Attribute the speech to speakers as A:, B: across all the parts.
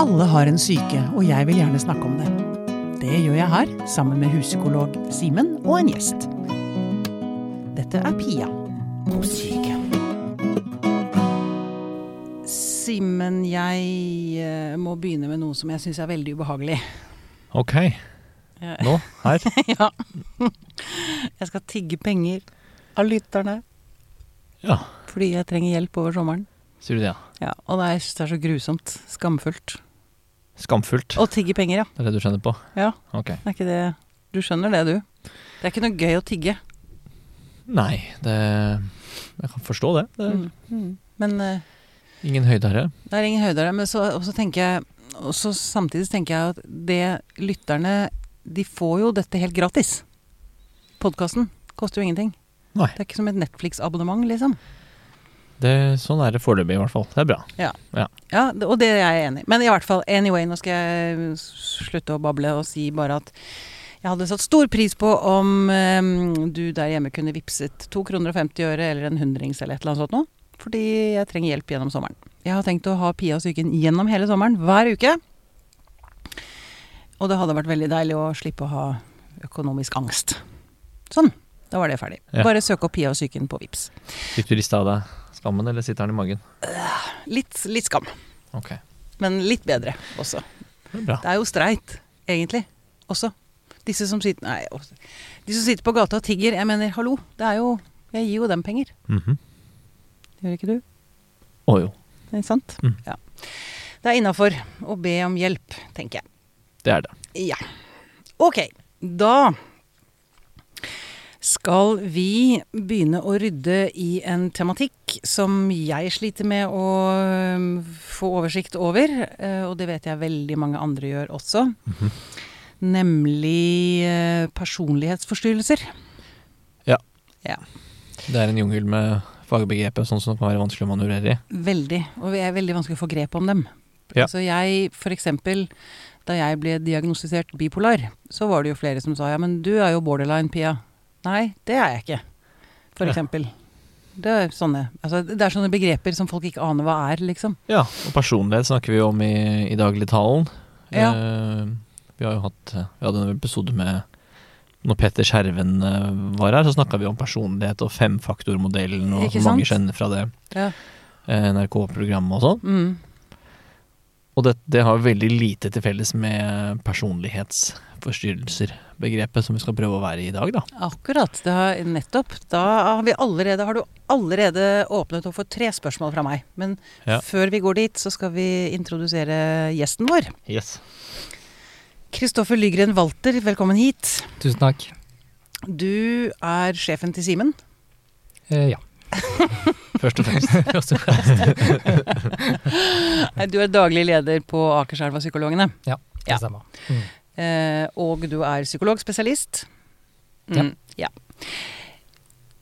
A: Alle har en syke, og jeg vil gjerne snakke om det. Det gjør jeg her, sammen med huspsykolog Simen og en gjest. Dette er Pia om syke. Simen, jeg eh, må begynne med noe som jeg syns er veldig ubehagelig.
B: Ok.
A: Ja.
B: Nå? Her?
A: ja. Jeg skal tigge penger av lytterne
B: Ja.
A: fordi jeg trenger hjelp over sommeren.
B: Sier du det, ja.
A: Ja, Og det, er- jeg syns det er så grusomt. Skamfullt.
B: Skamfullt.
A: Å tigge penger, ja.
B: Det er det du kjenner på?
A: Ja.
B: Ok.
A: Det er ikke det Du skjønner det, du. Det er ikke noe gøy å tigge.
B: Nei, det Jeg kan forstå det. det er
A: Mm. Men eh,
B: Ingen høydere.
A: det er ingen høyde der. Men så, og så tenker jeg Og så samtidig så tenker jeg at det lytterne De får jo dette helt gratis. Podkasten koster jo ingenting.
B: Nei.
A: Det er ikke som et Netflix-abonnement, liksom.
B: Det, sånn er det foreløpig, i hvert fall. Det er bra.
A: Ja, det- Og det er jeg enig i. Men i hvert fall, anyway, nå skal jeg slutte å bable og si bare at jeg hadde satt stor pris på om eh, du der hjemme kunne vippset 2 kroner og 50 øre eller en hundrings eller et eller annet sånt noe. Fordi jeg trenger hjelp gjennom sommeren. Jeg har tenkt å ha Pia og psyken gjennom hele sommeren, hver uke. Og det hadde vært veldig deilig å slippe å ha økonomisk angst. Sånn. Da var det ferdig.
B: Ja.
A: Bare søk opp Pia og psyken på Vips.
B: Fikk du rista av deg skammen, eller sitter den i magen?
A: Litt, litt skam,
B: Ok.
A: men litt bedre også.
B: Det er bra.
A: Det er jo streit, egentlig, også. Disse som sitter Nei, også. de som sitter på gata og tigger. Jeg mener, hallo, det er jo Jeg gir jo dem penger.
B: Mhm.
A: Gjør ikke du?
B: Å jo.
A: Det er sant?
B: Mm.
A: Ja. Det er innafor å be om hjelp, tenker
B: Det er det.
A: jeg. Ja. Ok, da skal vi begynne å rydde i en tematikk som jeg sliter med å øhm, få oversikt over, eh, og det vet jeg veldig mange andre gjør også.
B: Mhm.
A: Nemlig eh, personlighetsforstyrrelser.
B: Det er en jungel med fagbegrepet, sånn som det kan være vanskelig å manøvrere i.
A: Veldig. Og det er veldig vanskelig å få grep om dem.
B: Ja.
A: Altså jeg, for eksempel, da jeg ble diagnostisert bipolar, så var det jo flere som sa ja, men du er jo borderline, Pia. Nei, det er jeg ikke. For
B: Ja.
A: eksempel. Det er, sånne, altså, det er sånne begreper som folk ikke aner hva er, liksom.
B: Ja, og personlighet snakker vi jo om i, i dagligtalen.
A: Ja.
B: Eh, vi har jo hatt eh, Vi hadde en episode med når Petter Skjerven eh, var her, så snakka vi om personlighet og femfaktormodellen og
A: Ikke
B: hvor mange
A: sant?
B: kjenner fra det
A: Ja.
B: eh, NRK-programmet og sånn.
A: Mm.
B: Og det, det har veldig lite til felles med personlighetsforstyrrelser-begrepet som vi skal prøve å være i i dag, da.
A: Akkurat. Det har, nettopp. Da har, vi allerede, har du allerede åpnet opp for tre spørsmål fra meg. Men
B: Ja.
A: før vi går dit, så skal vi introdusere gjesten vår.
B: Yes.
A: Kristoffer Lygren Walter, velkommen hit.
C: Tusen takk.
A: Du er sjefen til Simen.
C: Eh, ja.
B: Først og fremst.
A: Nei, Du er daglig leder på Akerselva-psykologene. Ja.
C: Det stemmer. Mm.
A: Eh, og du er psykologspesialist. Mm, ja.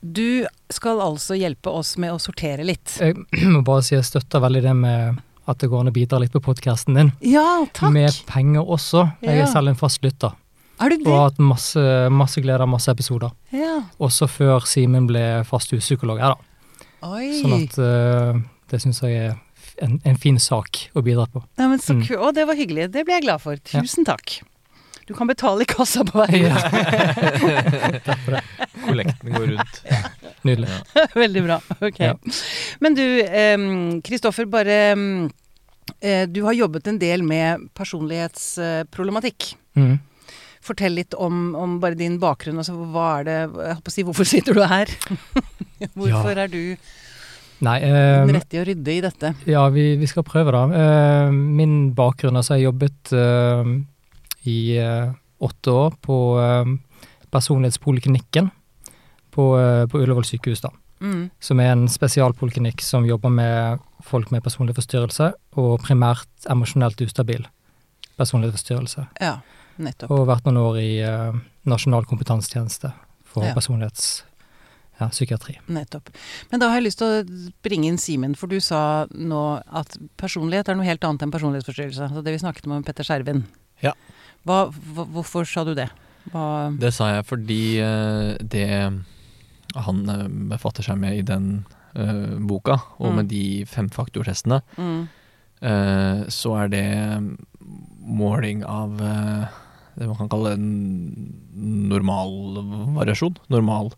A: Du skal altså hjelpe oss med å sortere litt.
C: Jeg må bare si jeg støtter veldig det med at det går an å bidra litt på podkasten din.
A: Ja, takk!
C: Med penger også. Jeg
A: Ja.
C: er selv en fast lytter
A: er du
C: og
A: det?
C: har hatt masse, masse glede av masse episoder.
A: Ja.
C: Også før Simen ble fast huspsykolog her, da.
A: Oi.
C: Sånn at eh, det syns jeg er f- en, en fin sak å bidra på.
A: Nei, men så
C: Mm.
A: ku- Å, det var hyggelig. Det ble jeg glad for.
C: Ja.
A: Tusen takk. Du kan betale i kassa på vei ut.
B: Kollekten går rundt.
C: Nydelig.
A: Veldig bra. Ok.
C: Ja.
A: Men du, em, Kristoffer, bare em, eh, Du har jobbet en del med personlighetsproblematikk.
C: Mm.
A: Fortell litt om, om bare din bakgrunn. Altså, hva er det, jeg holdt på å si, hvorfor sitter du her? hvorfor er du
C: Nei,
A: den
C: eh,
A: rette i å rydde i dette?
C: Ja, vi, vi skal prøve da. Eh, Min bakgrunn, altså jeg har jobbet eh, i eh, åtte år på eh, personlighetspoliklinikken på, eh, på Ullevål sykehus da,
A: Mm.
C: som er en spesialpoliklinikk som jobber med folk med personlig forstyrrelse og primært emosjonelt ustabil personlig forstyrrelse.
A: Ja, nettopp.
C: Og vært noen år i eh, nasjonal kompetansetjeneste for
A: Ja.
C: personlighetspsykiatri. Ja, psykiatri.
A: nettopp. Men da har jeg lyst til å bringe inn Simen, for du sa nå at personlighet er noe helt annet enn personlighetsforstyrrelse. Altså det vi snakket om med Petter Skjerven.
B: Ja.
A: Hva, hva, hvorfor sa du det? Hva,
B: Det sa jeg fordi eh, det han eh, befatter seg med i den eh, boka, og
A: Mm.
B: med de femfaktortestene,
A: mm.
B: eh, så er det måling av eh, det man kan kalle en normalvariasjon. Normal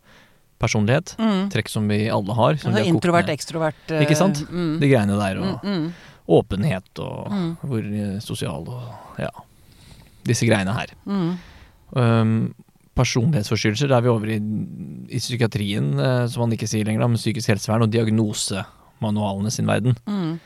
B: personlighet.
A: Mm.
B: Trekk som vi alle har.
A: Altså
B: Som vi har kokt
A: introvert,
B: ned.
A: ekstrovert eh,
B: Ikke sant?
A: Mm.
B: De greiene der, og
A: mm, mm,
B: åpenhet og
A: Mm.
B: hvor eh, sosial og ja. Disse greiene her.
A: mm.
B: Um, personlighetsforstyrrelser, da er vi over i, i psykiatrien, eh, som man ikke sier lenger, da, men psykisk helsevern og diagnosemanualene sin verden.
A: Mm.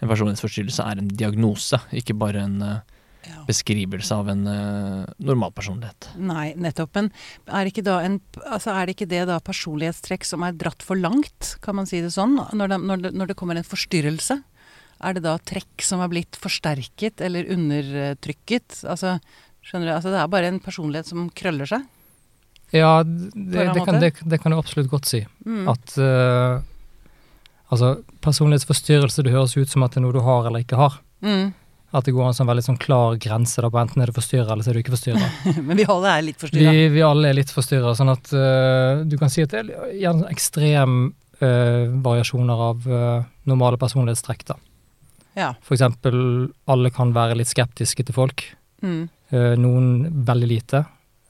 B: En personlighetsforstyrrelse er en diagnose, ikke bare en eh,
A: Ja.
B: beskrivelse av en eh, normal personlighet.
A: Nei, nettopp. Men er ikke, da en, altså er det ikke det da personlighetstrekk som er dratt for langt, kan man si det sånn? Når det, når det, når det kommer en forstyrrelse, er det da trekk som er blitt forsterket eller undertrykket? Altså, skjønner du? Altså, det er bare en personlighet som krøller seg.
C: Ja, det, det,
A: annen
C: kan,
A: måte?
C: det, det kan jeg absolutt godt si.
A: Mm.
C: At eh, Altså, personlighetsforstyrrelse, det høres ut som at det er noe du har eller ikke har.
A: Mm.
C: At det går en sånn veldig sånn klar grense da, på enten er du forstyrra eller så er du ikke forstyrra.
A: Men vi alle er litt
C: Vi,
A: forstyrra.
C: vi alle er litt forstyrra, sånn at eh, du kan si at det er gjerne sånn ekstrem eh, variasjoner av eh, normale personlighetstrekk. da.
A: Ja.
C: For eksempel, alle kan være litt skeptiske til folk.
A: Mm.
C: Eh, noen veldig lite.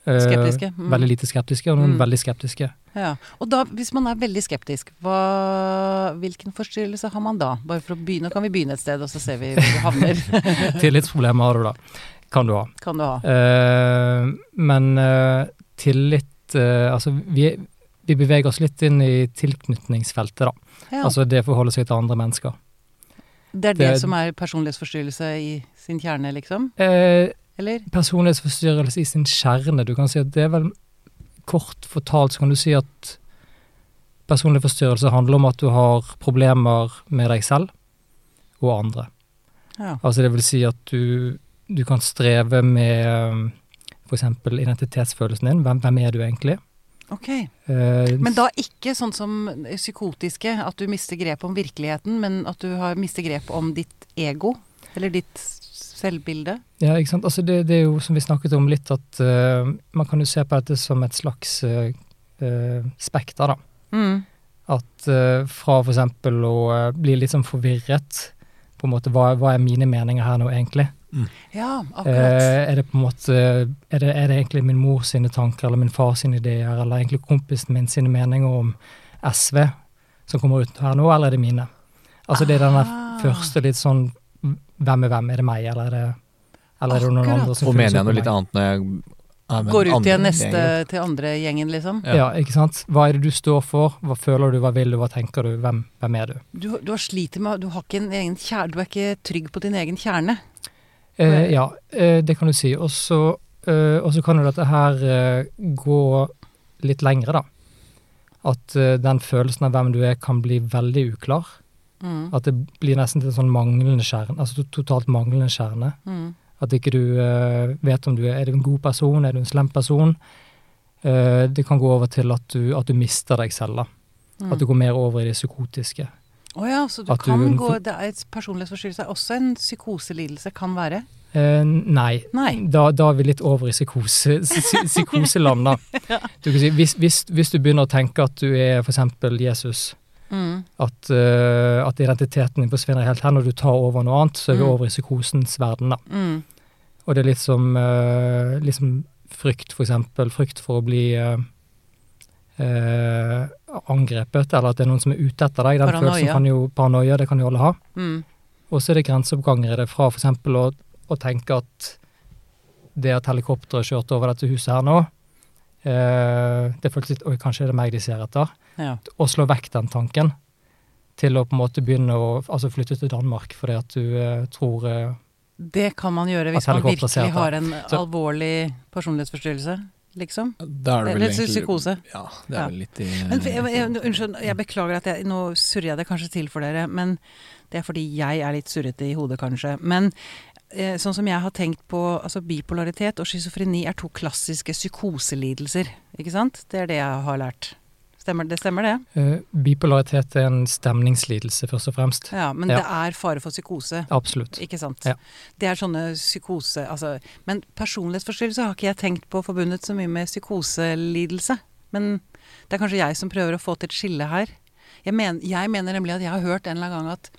C: Eh,
A: Skeptiske, mm.
C: Veldig lite skeptiske, og noen
A: Mm.
C: veldig skeptiske.
A: Ja. Og da, hvis man er veldig skeptisk, hva, hvilken forstyrrelse har man da? Bare for å begynne, Nå kan vi begynne et sted, og så ser vi hvor vi havner.
C: Tillitsproblemer har du da, kan du ha.
A: kan du ha.
C: Eh, men eh, tillit eh, Altså, vi, vi beveger oss litt inn i tilknytningsfeltet, da.
A: Ja.
C: Altså det forholder seg til andre mennesker.
A: Det er det,
C: Det-
A: som er personlighetsforstyrrelse i sin kjerne, liksom?
C: Eh,
A: Eller?
C: personlighetsforstyrrelse i sin kjerne. Du kan si at det er vel Kort fortalt så kan du si at personlig forstyrrelse handler om at du har problemer med deg selv og andre.
A: Ja.
C: Altså det vil si at du, du kan streve med f.eks. identitetsfølelsen din. Hvem, hvem er du egentlig?
A: Ok.
C: Eh,
A: Men da ikke sånn som psykotiske, at du mister grep om virkeligheten, men at du har mister grep om ditt ego? Eller ditt selvbilde?
C: Ja, ikke sant? Altså det, det er jo som vi snakket om litt, at eh, man kan jo se på dette som et slags eh, eh, spekter, da.
A: Mm.
C: At eh, fra for eksempel å eh, bli litt sånn forvirret, på en måte, hva, hva er mine meninger her nå egentlig?
A: Ja, akkurat.
C: Eh, er det på en måte, er det, er det egentlig min mor sine tanker, eller min far sine ideer, eller egentlig kompisen min sine meninger om SV som kommer ut her nå, eller er det mine? Altså det er denne
A: Ah.
C: første litt sånn, hvem er hvem, er det meg, eller er det, eller er det noen
A: Akkurat.
C: andre som
B: Og
C: føles
B: mener jeg noe
C: opp med
B: litt
C: meg?
B: annet når jeg er med
A: Går
B: den
A: ut igjen
B: andre
A: neste
B: gjengen.
A: til andre gjengen, liksom?
B: Ja.
C: Ja. ikke sant. Hva er det du står for, hva føler du, hva vil du, hva tenker du, hvem, hvem er du?
A: Du, du har sliter med Du har ikke en egen kjerne Du er ikke trygg på din egen kjerne.
C: Eh, ja, eh, det kan du si. Og så eh, og så kan jo dette her eh, gå litt lengre, da. At eh, den følelsen av hvem du er kan bli veldig uklar.
A: Mm.
C: At det blir nesten til en sånn manglende kjerne, altså to- totalt manglende kjerne.
A: Mm.
C: At ikke du eh, vet om du er, er du en god person, er du en slem person. Eh, det kan gå over til at du, at du mister deg selv, da.
A: Mm.
C: At du går mer over i det psykotiske.
A: Å ja, så du
C: At du
A: kan
C: vil
A: gå
C: få-
A: det er et Personlighetsforstyrrelse er også en psykoselidelse, kan være.
C: Eh, nei.
A: Nei.
C: Da, da er vi litt over i psykose, psy- psykoseland, da. Du kan si, hvis, hvis, hvis du begynner å tenke at du er f.eks. Jesus,
A: Mm.
C: at, eh, at identiteten din forsvinner helt her når du tar over noe annet, så er vi
A: Mm.
C: over i psykosens verden, da.
A: Mm.
C: Og det er litt som, eh, liksom frykt, f.eks. Frykt for å bli eh, eh, angrepet, eller at det er noen som er ute etter deg. Den
A: Paranoia.
C: følelsen kan jo Paranoia, det kan jo alle ha.
A: Mm.
C: Og så er det grenseoppganger i det fra f.eks. Å, å tenke at det at helikopteret kjørte over dette huset her nå, eh, det føltes litt Oi, kanskje er det meg de ser etter?
A: Ja.
C: Å slå vekk den tanken til å på en måte begynne å altså flytte til Danmark fordi at du eh, tror eh,
A: Det kan man gjøre hvis
C: At
A: man
C: helikopter ser
A: virkelig
C: etter.
A: har en
B: Så-
A: alvorlig personlighetsforstyrrelse, liksom.
B: Da er det vel
A: Eller
B: egentlig
A: psykose.
B: Ja, det er
A: Ja.
B: vel litt i
A: Men for- jeg, jeg, unnskyld, jeg beklager at jeg Nå surrer jeg det kanskje til for dere, men det er fordi jeg er litt surrete i hodet, kanskje. Men eh, sånn som jeg har tenkt på altså Bipolaritet og schizofreni er to klassiske psykoselidelser, ikke sant? Det er det jeg har lært. Stemmer det? Stemmer det?
C: eh, Bipolaritet er en stemningslidelse, først og fremst.
A: Ja, men
C: Ja.
A: det er fare for psykose.
C: Absolutt.
A: Ikke sant.
C: Ja.
A: Det er sånne psykose... Altså, men personlighetsforstyrrelse har ikke jeg tenkt på forbundet så mye med psykoselidelse. Men det er kanskje jeg som prøver å få til et skille her. Jeg, men, jeg mener nemlig at jeg har hørt en eller annen gang at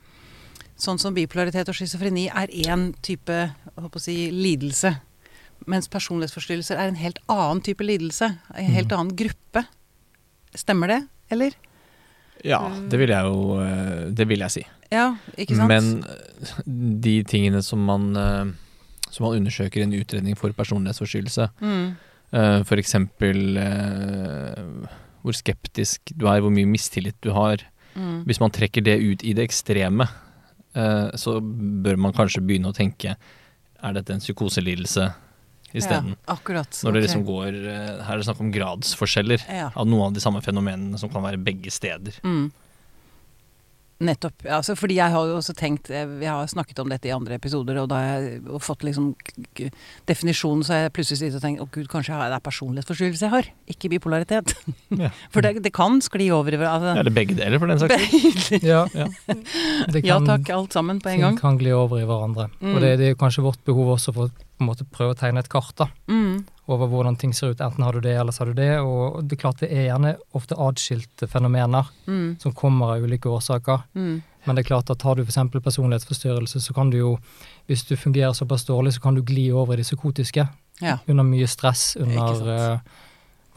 A: Sånn som bipolaritet og schizofreni er én type jeg håper å si, lidelse. Mens personlighetsforstyrrelser er en helt annen type lidelse. En helt
B: Mm.
C: Mhm.
A: annen gruppe. Stemmer det, eller?
B: Ja, det vil jeg jo eh, Det vil jeg si.
A: Ja, ikke sant?
B: Men eh, de tingene som man, eh, som man undersøker i en utredning for personlighetsforstyrrelse,
A: Mm.
B: eh, for eksempel eh, hvor skeptisk du er, hvor mye mistillit du har
A: Mm.
B: Hvis man trekker det ut i det ekstreme, eh, så bør man kanskje begynne å tenke Er dette en psykoselidelse isteden?
A: Ja, akkurat.
B: Når det
A: Ok.
B: liksom går eh, Her er det snakk om gradsforskjeller
A: ja.
B: av noen av de samme fenomenene som kan være begge steder.
A: Mm. Nettopp. Ja, altså, fordi jeg har jo også tenkt eh, Vi har snakket om dette i andre episoder, og da har jeg og fått liksom k- k- definisjonen, så har jeg plutselig sittet og tenkt å gud, kanskje jeg har- det er personlighetsforstyrrelse jeg har, ikke bipolaritet.
B: Ja.
A: For det, det kan skli over i hver- altså,
B: Eller begge deler, for den saks skyld.
C: Ja,
B: Ja.
C: det
A: Ja
C: kan-
A: takk, alt sammen på en
C: ting
A: gang.
C: kan gli over i hverandre.
A: Mm.
C: Og det, det er kanskje vårt behov også for å på en måte, prøve å tegne et kart da,
A: Mm.
C: over hvordan ting ser ut. Enten har du det, eller så har du det. Og det er klart det er gjerne ofte atskilte fenomener
A: Mm.
C: som kommer av ulike årsaker.
A: Mm.
C: Men det er klart at har du f.eks. personlighetsforstyrrelse, så kan du jo, hvis du fungerer såpass dårlig, så kan du gli over i det psykotiske.
A: Ja.
C: Under mye stress,
A: Ikke
C: under
A: sant.
C: eh,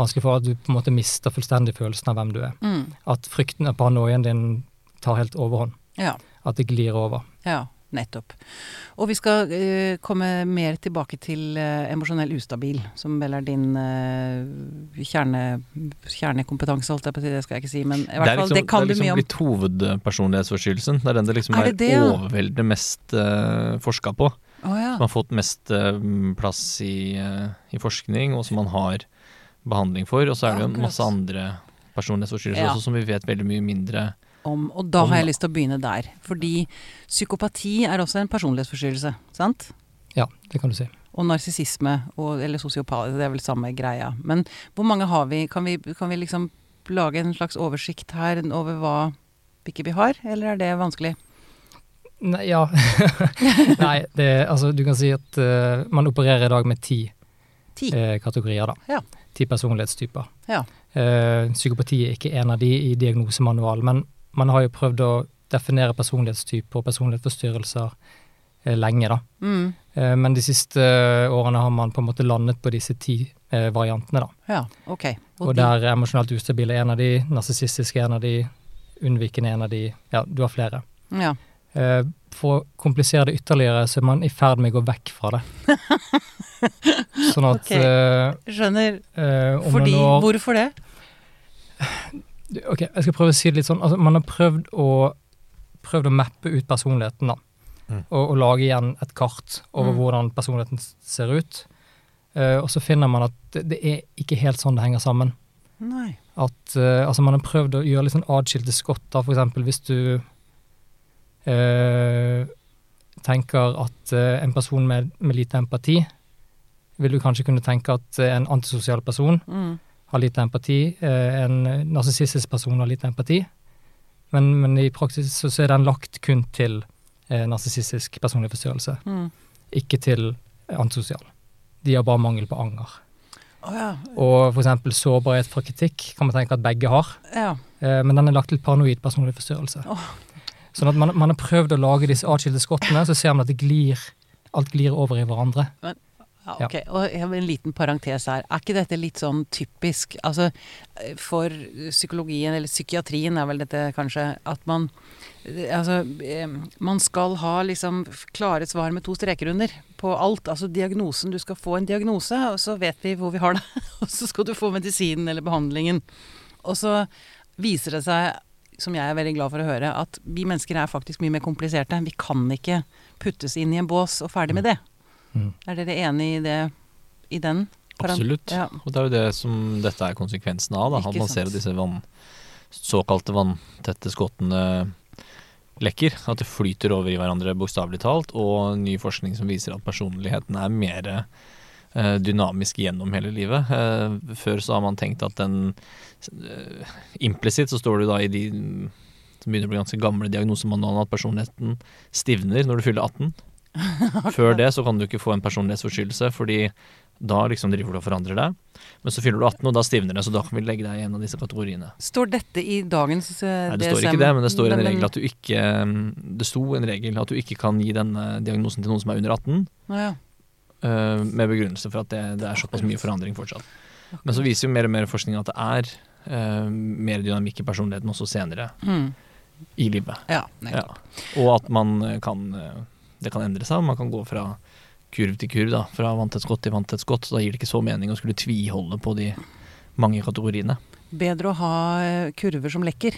C: vanskelig for at du på en måte mister fullstendig følelsen av hvem du er.
A: Mm.
C: At frykten og paranoien din tar helt overhånd.
A: ja.
C: At det glir over.
A: Ja, nettopp. Og vi skal eh, komme mer tilbake til eh, emosjonell ustabil, som vel er din eh, kjerne, kjernekompetanse, holdt jeg på å si, det skal jeg ikke si, men i hvert fall, det kan
B: det er liksom
A: du mye om.
B: blitt hovedpersonlighetsforstyrrelsen. Det er den det liksom
A: Er
B: er,
A: det det, ja?
B: overveldende mest uh, forska på.
A: Å ja.
B: Som har fått mest eh, plass i, eh, i forskning, og som man har behandling for. Og så er det jo en
A: Akkurat.
B: masse andre personlighetsforstyrrelser
A: Ja.
B: også, som vi vet veldig mye mindre
A: Om, og da
B: Om-
A: har jeg lyst til å begynne der. Fordi psykopati er også en personlighetsforstyrrelse, sant?
C: Ja, det kan du si.
A: Og narsissisme, og- eller sosiopati, det er vel samme greia. Men hvor mange har vi? Kan vi, kan vi liksom lage en slags oversikt her over hva ikke vi har, eller er det vanskelig?
C: Nei, ja. Nei, det, altså, du kan si at eh, man opererer i dag med ti
A: Ti.
C: eh, kategorier. Da.
A: Ja.
C: Ti personlighetstyper.
A: Ja.
C: Eh, psykopati er ikke en av de i diagnosemanualen, men man har jo prøvd å definere personlighetstyper og personlighetsforstyrrelser eh, lenge. Da.
A: Mm,
C: Eh, men de siste årene har man på en måte landet på disse ti eh, variantene. Da.
A: ja, ok.
C: Og,
A: de-
C: der er emosjonelt ustabil er en av de, narsissistisk er en av de, unnvikende er en av de. Ja, du har flere.
A: Ja.
C: Eh, For å komplisere det ytterligere, så er man i ferd med å gå vekk fra det. Sånn at
A: Ok.
C: eh,
A: Skjønner.
C: eh, om
A: Fordi,
C: noen år
A: Hvorfor det?
C: Ok, jeg skal prøve å si det litt sånn. Altså, man har prøvd å, prøvd å mappe ut personligheten, da.
B: Mm.
C: Og, og lage igjen et kart over
A: Mm.
C: hvordan personligheten s- ser ut. Eh, og så finner man at det, det er ikke helt sånn det henger sammen.
A: Nei.
C: At eh, altså, man har prøvd å gjøre litt sånn atskilte skott, da, for eksempel hvis du eh, tenker at eh, en person med, med lite empati vil du kanskje kunne tenke at eh, en antisosial person
A: Mm.
C: har lite empati, eh, en narsissistisk person har lite empati, men, men i praksis så, så er den lagt kun til eh, narsissistisk personlig forstyrrelse,
A: Mm.
C: ikke til eh, antisosial. De har bare mangel på anger.
A: Å ja.
C: Og for eksempel sårbarhet for kritikk kan man tenke at begge har,
A: ja.
C: eh, men den er lagt til paranoid personlig forstyrrelse.
A: Åh.
C: Sånn at man, man har prøvd å lage disse atskilte skottene, så ser man at det glir, alt glir over i hverandre.
A: Ja,
C: Ja.
A: ok. Og jeg har en liten parentes her. Er ikke dette litt sånn typisk altså, eh, for psykologien, eller psykiatrien er vel dette kanskje, at man eh, Altså, eh, man skal ha liksom f- klare svar med to streker under på alt. Altså diagnosen. Du skal få en diagnose, og så vet vi hvor vi har det. Og så skal du få medisinen eller behandlingen. Og så viser det seg, som jeg er veldig glad for å høre, at vi mennesker er faktisk mye mer kompliserte. Vi kan ikke puttes inn i en bås og ferdig med det.
C: Mm.
A: Er dere enig i det? I den? Paran-
B: Absolutt.
A: Ja.
B: Og det er jo det som dette er konsekvensen av, da. At
A: Ikke
B: man
A: sant.
B: ser at disse vann, såkalte vanntette skottene lekker. At det flyter over i hverandre, bokstavelig talt. Og ny forskning som viser at personligheten er mer eh, dynamisk gjennom hele livet. Eh, Før så har man tenkt at den eh, Implisitt så står det jo da i de som begynner å bli ganske gamle diagnosemanualene at personligheten stivner når du fyller 18. Før det så kan du ikke få en personlighetsforstyrrelse, fordi Da liksom driver du og forandrer deg. Men så fyller du 18, og da stivner det, så da kan vi legge deg i en av disse kategoriene.
A: Står dette i dagens eh, DSM?
B: Nei, det står ikke det, men det står en
A: Men-
B: regel at du ikke mm, Det sto en regel at du ikke kan gi denne diagnosen til noen som er under 18,
A: Å ja.
B: eh, med begrunnelse for at det, det er såpass mye forandring fortsatt. Men så viser jo mer og mer forskning at det er eh, mer dynamikk i personligheten også senere
A: Mm.
B: i livet.
A: Ja, nettopp.
B: Ja. Og at man kan eh, Det kan endre seg. Man kan gå fra kurv til kurv, da. Fra vanntett-skott til vanntett-skott. Så da gir det ikke så mening å skulle tviholde på de mange kategoriene.
A: Bedre å ha eh, kurver som lekker.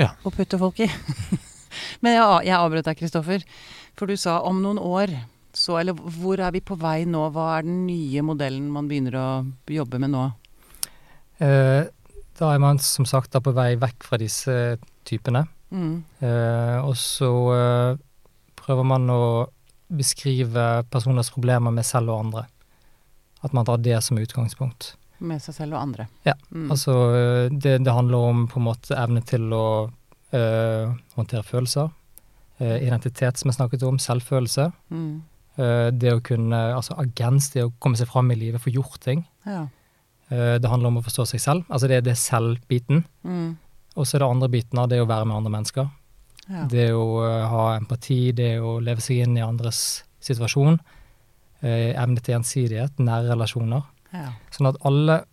B: Ja.
A: Og putte folk i. Men jeg, jeg avbrøt deg, Kristoffer. For du sa om noen år så Eller hvor er vi på vei nå? Hva er den nye modellen man begynner å jobbe med nå?
C: Eh, Da er man som sagt da på vei vekk fra disse typene.
A: Mm.
C: Eh, Og så eh, prøver man å beskrive personers problemer med selv og andre. At man tar det som utgangspunkt.
A: Med seg selv og andre.
C: Ja,
A: Mm.
C: Altså eh, det, det handler om på en måte evne til å eh, håndtere følelser. eh, identitet som jeg snakket om, selvfølelse.
A: mm.
C: eh, det å kunne, altså agens, det å komme seg fram i livet, få gjort ting.
A: Ja.
C: Eh, det handler om å forstå seg selv. Altså det, det er selv-biten.
A: Mm.
C: Og så er det andre biten av det å være med andre mennesker.
A: ja.
C: Det å eh, ha empati, det å leve seg inn i andres situasjon. eh, evne til gjensidighet, nære relasjoner.
A: ja.
C: Sånn at alle,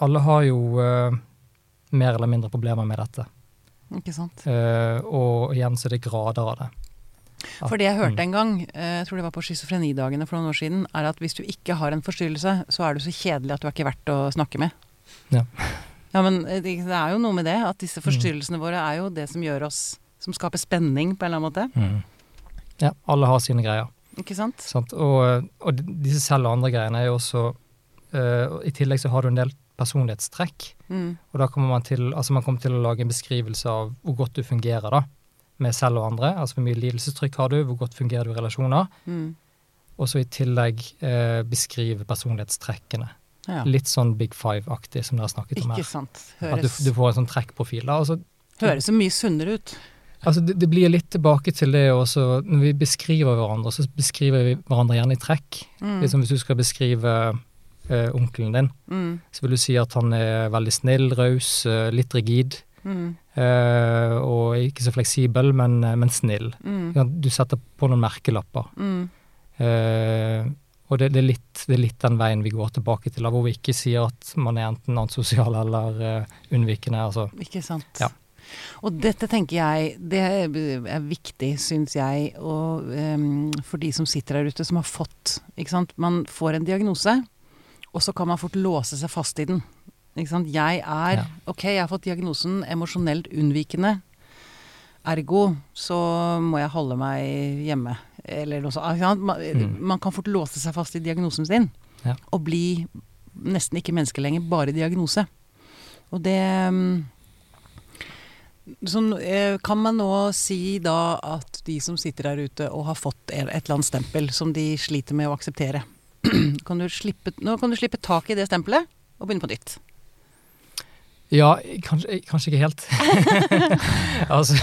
C: alle har jo eh, mer eller mindre problemer med dette.
A: Ikke sant.
C: Eh, og igjen så er det grader av det. Ja.
A: For det jeg hørte
C: Mm.
A: en gang, eh, jeg tror det var på schizofrenidagene for noen år siden, er at hvis du ikke har en forstyrrelse, så er du så kjedelig at du er ikke verdt å snakke med.
C: Ja. Mm.
A: Ja, men eh, det det er jo noe med det, at disse forstyrrelsene våre er jo det som gjør oss Som skaper spenning på en eller annen måte.
C: Ja, alle har sine greier.
A: Ikke sant?
C: Sant? Og, og d- disse selv og andre greiene er jo også eh, og I tillegg så har du en del personlighetstrekk.
A: Mm.
C: Og da kommer man til, altså man kommer til å lage en beskrivelse av hvor godt du fungerer da, med selv og andre. Altså hvor mye lidelsestrykk har du, hvor godt fungerer du i relasjoner.
A: Mm.
C: Og så i tillegg eh, beskrive personlighetstrekkene.
A: Ja.
C: Litt sånn Big Five-aktig som dere har snakket om
A: Ikke
C: her.
A: sant.
C: At du,
A: Høres,
C: du får en sånn trekkprofil. da. Altså,
A: høres så mye sunnere ut.
C: altså det, det blir litt tilbake til det også, når vi beskriver hverandre, så beskriver vi hverandre gjerne i trekk.
A: Mm.
C: Liksom hvis du skal beskrive eh, onkelen din,
A: Mm.
C: så vil du si at han er veldig snill, raus, eh, litt rigid.
A: Mm.
C: eh, og ikke så fleksibel, men, eh, men snill.
A: Mm.
C: Ja, Du setter på noen merkelapper.
A: Mm.
C: eh, og det, det, er litt, det er litt den veien vi går tilbake til, da, hvor vi ikke sier at man er enten antisosial eller eh, unnvikende. Altså.
A: Ikke sant.
C: Ja.
A: Og dette tenker jeg, det er viktig, syns jeg, og ehm, for de som sitter der ute, som har fått ikke sant? Man får en diagnose, og så kan man fort låse seg fast i den. Ikke sant? Jeg er
C: Ja.
A: Ok, jeg har fått diagnosen emosjonelt unnvikende. Ergo så må jeg holde meg hjemme, eller noe sånt. Ikke sant? Man,
C: Mm.
A: man kan fort låse seg fast i diagnosen sin,
C: Ja.
A: og bli nesten ikke menneske lenger, bare diagnose. Og det mm, Sånn, eh, kan man nå si da at de som sitter der ute og har fått et eller annet stempel som de sliter med å akseptere kan du slippe, Nå kan du slippe tak i det stempelet og begynne på nytt.
C: Ja, kanskje, kanskje ikke helt. altså,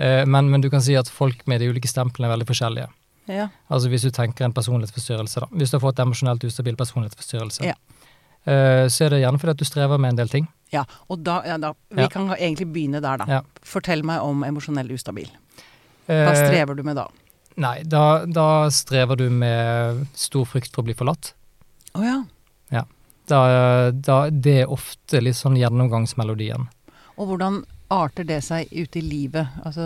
C: eh, men, men du kan si at folk med de ulike stemplene er veldig forskjellige.
A: Ja.
C: Altså hvis du tenker en personlighetsforstyrrelse, da. Hvis du har fått emosjonelt ustabil personlighetsforstyrrelse,
A: Ja.
C: eh, så er det gjerne fordi at du strever med en del ting.
A: ja og da, ja, da Vi
C: Ja.
A: kan ga- egentlig begynne der, da.
C: Ja.
A: Fortell meg om emosjonell ustabil.
C: Eh,
A: Hva strever du med da?
C: Nei, da, da strever du med stor frykt for å bli forlatt.
A: Å ja.
C: Da, da, det er ofte litt sånn gjennomgangsmelodien.
A: Og hvordan arter det seg ute i livet? Altså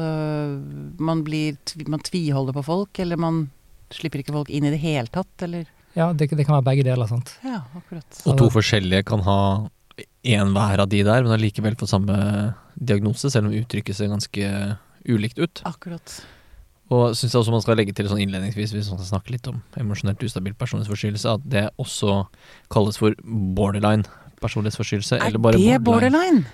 A: man blir tv- Man tviholder på folk, eller man slipper ikke folk inn i det hele tatt, eller
C: Ja, det, det kan være begge deler, sant.
A: Ja, akkurat.
B: Og to forskjellige kan ha én hver av de der, men allikevel få samme diagnose, selv om uttrykket ser ganske ulikt ut.
A: Akkurat.
B: Og syns jeg også man skal legge til sånn innledningsvis, hvis man skal snakke litt om emosjonelt ustabil personlighetsforstyrrelse, at det også kalles for borderline personlighetsforstyrrelse.
A: Er
B: eller bare
A: det borderline?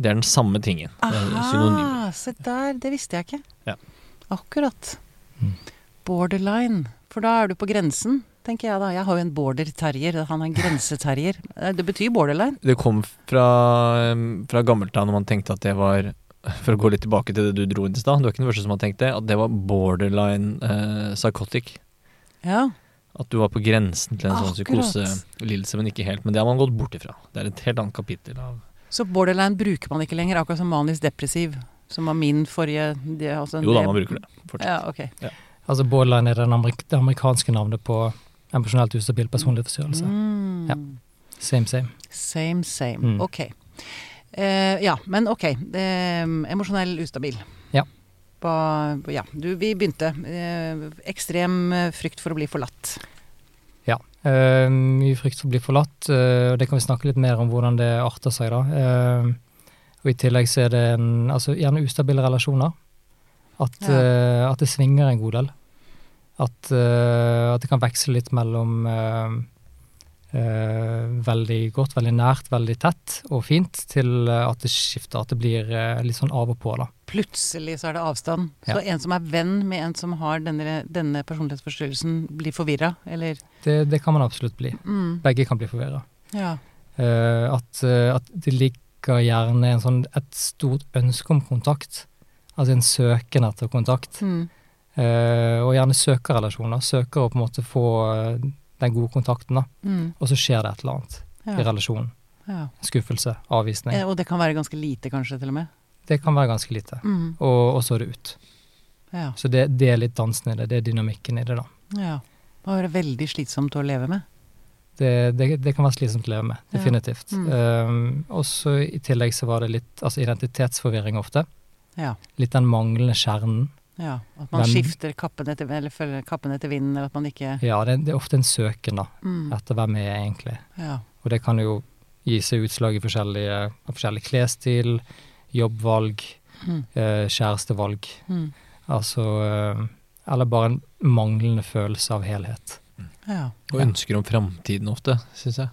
B: Det er den samme tingen. Det er synonymer.
A: Aha, se der, det visste jeg ikke.
B: Eh, Ja.
A: Akkurat.
C: Mm.
A: Borderline. For da er du på grensen, tenker jeg da. Jeg har jo en border-terrier, han er en grenseterrier. Eh, Det betyr borderline.
B: Det kom fra, um, fra gammelt av når man tenkte at det var For å gå litt tilbake til det du dro inn i stad, du er ikke den første som har tenkt det, at det var borderline eh, psychotic.
A: Ja.
B: At du var på grensen til en sånn
A: Akkurat.
B: psykoselidelse, men ikke helt. Men det har man gått bort ifra. Det er et helt annet kapittel av
A: Så borderline bruker man ikke lenger, akkurat som manisk depressiv, som var min forrige det, altså,
B: Jo da, man bruker det. Fortsatt.
A: Ja, ok.
C: Altså borderline er den amerik det amerikanske navnet på emosjonelt ustabil personlig forstyrrelse.
A: Mm.
C: Ja. Same, same.
A: Same, same.
C: Mm.
A: Ok. Eh, ja, men ok. Eh, emosjonell ustabil.
C: Ja.
A: Hva- ja. Du, vi begynte. Eh, ekstrem eh, frykt for å bli forlatt.
C: Ja. eh, mye frykt for å bli forlatt, eh, og det kan vi snakke litt mer om hvordan det arter seg, da. Eh, og i tillegg så er det en, altså, gjerne ustabile relasjoner. At,
A: Ja.
C: eh, at det svinger en god del. At, eh, at det kan veksle litt mellom eh, eh, veldig godt, veldig nært, veldig tett og fint, til eh, at det skifter, at det blir eh, litt sånn av og på, da.
A: Plutselig så er det avstand. Så en som er venn med en som har denne, denne personlighetsforstyrrelsen, blir forvirra, eller
C: Det, det kan man absolutt bli.
A: mm,
C: Begge kan bli forvirra.
A: Ja.
C: Eh, at, eh, at det ligger gjerne en sånn, et stort ønske om kontakt. Altså en søken etter kontakt.
A: Mm.
C: Eh, og gjerne søkerrelasjoner. Søker å på en måte få eh, den gode kontakten, da.
A: Mm.
C: Og så skjer det et eller annet i
A: Ja.
C: relasjonen.
A: Ja.
C: Skuffelse, avvisning.
A: Eh, og det kan være ganske lite, kanskje, til og med.
C: Det kan være ganske lite.
A: Mm.
C: Og, og så er det ut.
A: Ja.
C: Så det, det er litt dansen i det. Det er dynamikken i det, da.
A: ja. Det må være veldig slitsomt å leve med.
C: det, det, det kan være slitsomt å leve med,
A: Ja.
C: definitivt.
A: Mm.
C: Um, og så i tillegg så var det litt altså identitetsforvirring ofte.
A: Ja.
C: Litt den manglende kjernen.
A: Ja, At man
C: Hvem-
A: skifter kappen etter, eller følger kappen etter vinden, eller at man ikke
C: Ja, det, det er ofte en søken da,
A: mm,
C: etter hvem er jeg egentlig.
A: ja.
C: Og det kan jo gi seg utslag i forskjellige, forskjellige klesstil, jobbvalg,
A: Mm,
C: eh, kjærestevalg.
A: mm,
C: Altså eh, Eller bare en manglende følelse av helhet.
A: ja.
B: Og ønsker om framtiden ofte, syns jeg.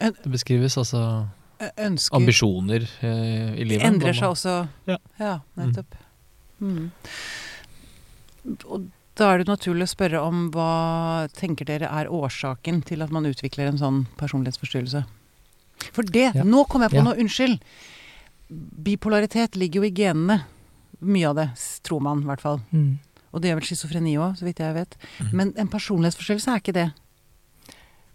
A: En-
B: Det beskrives altså
A: Ø- Ønsker
B: ambisjoner eh, i livet.
A: endrer
B: Hva
A: seg
B: man-
A: også.
B: Ja.
A: nettopp. Mm. Og da er det naturlig å spørre om hva tenker dere er årsaken til at man utvikler en sånn personlighetsforstyrrelse? For det
C: Ja.
A: Nå kom jeg på
C: Ja.
A: noe! Unnskyld! Bipolaritet ligger jo i genene. Mye av det, s- tror man i hvert fall. Og det gjør vel schizofreni òg, så vidt jeg vet.
B: Mm.
A: Men en personlighetsforstyrrelse er ikke det.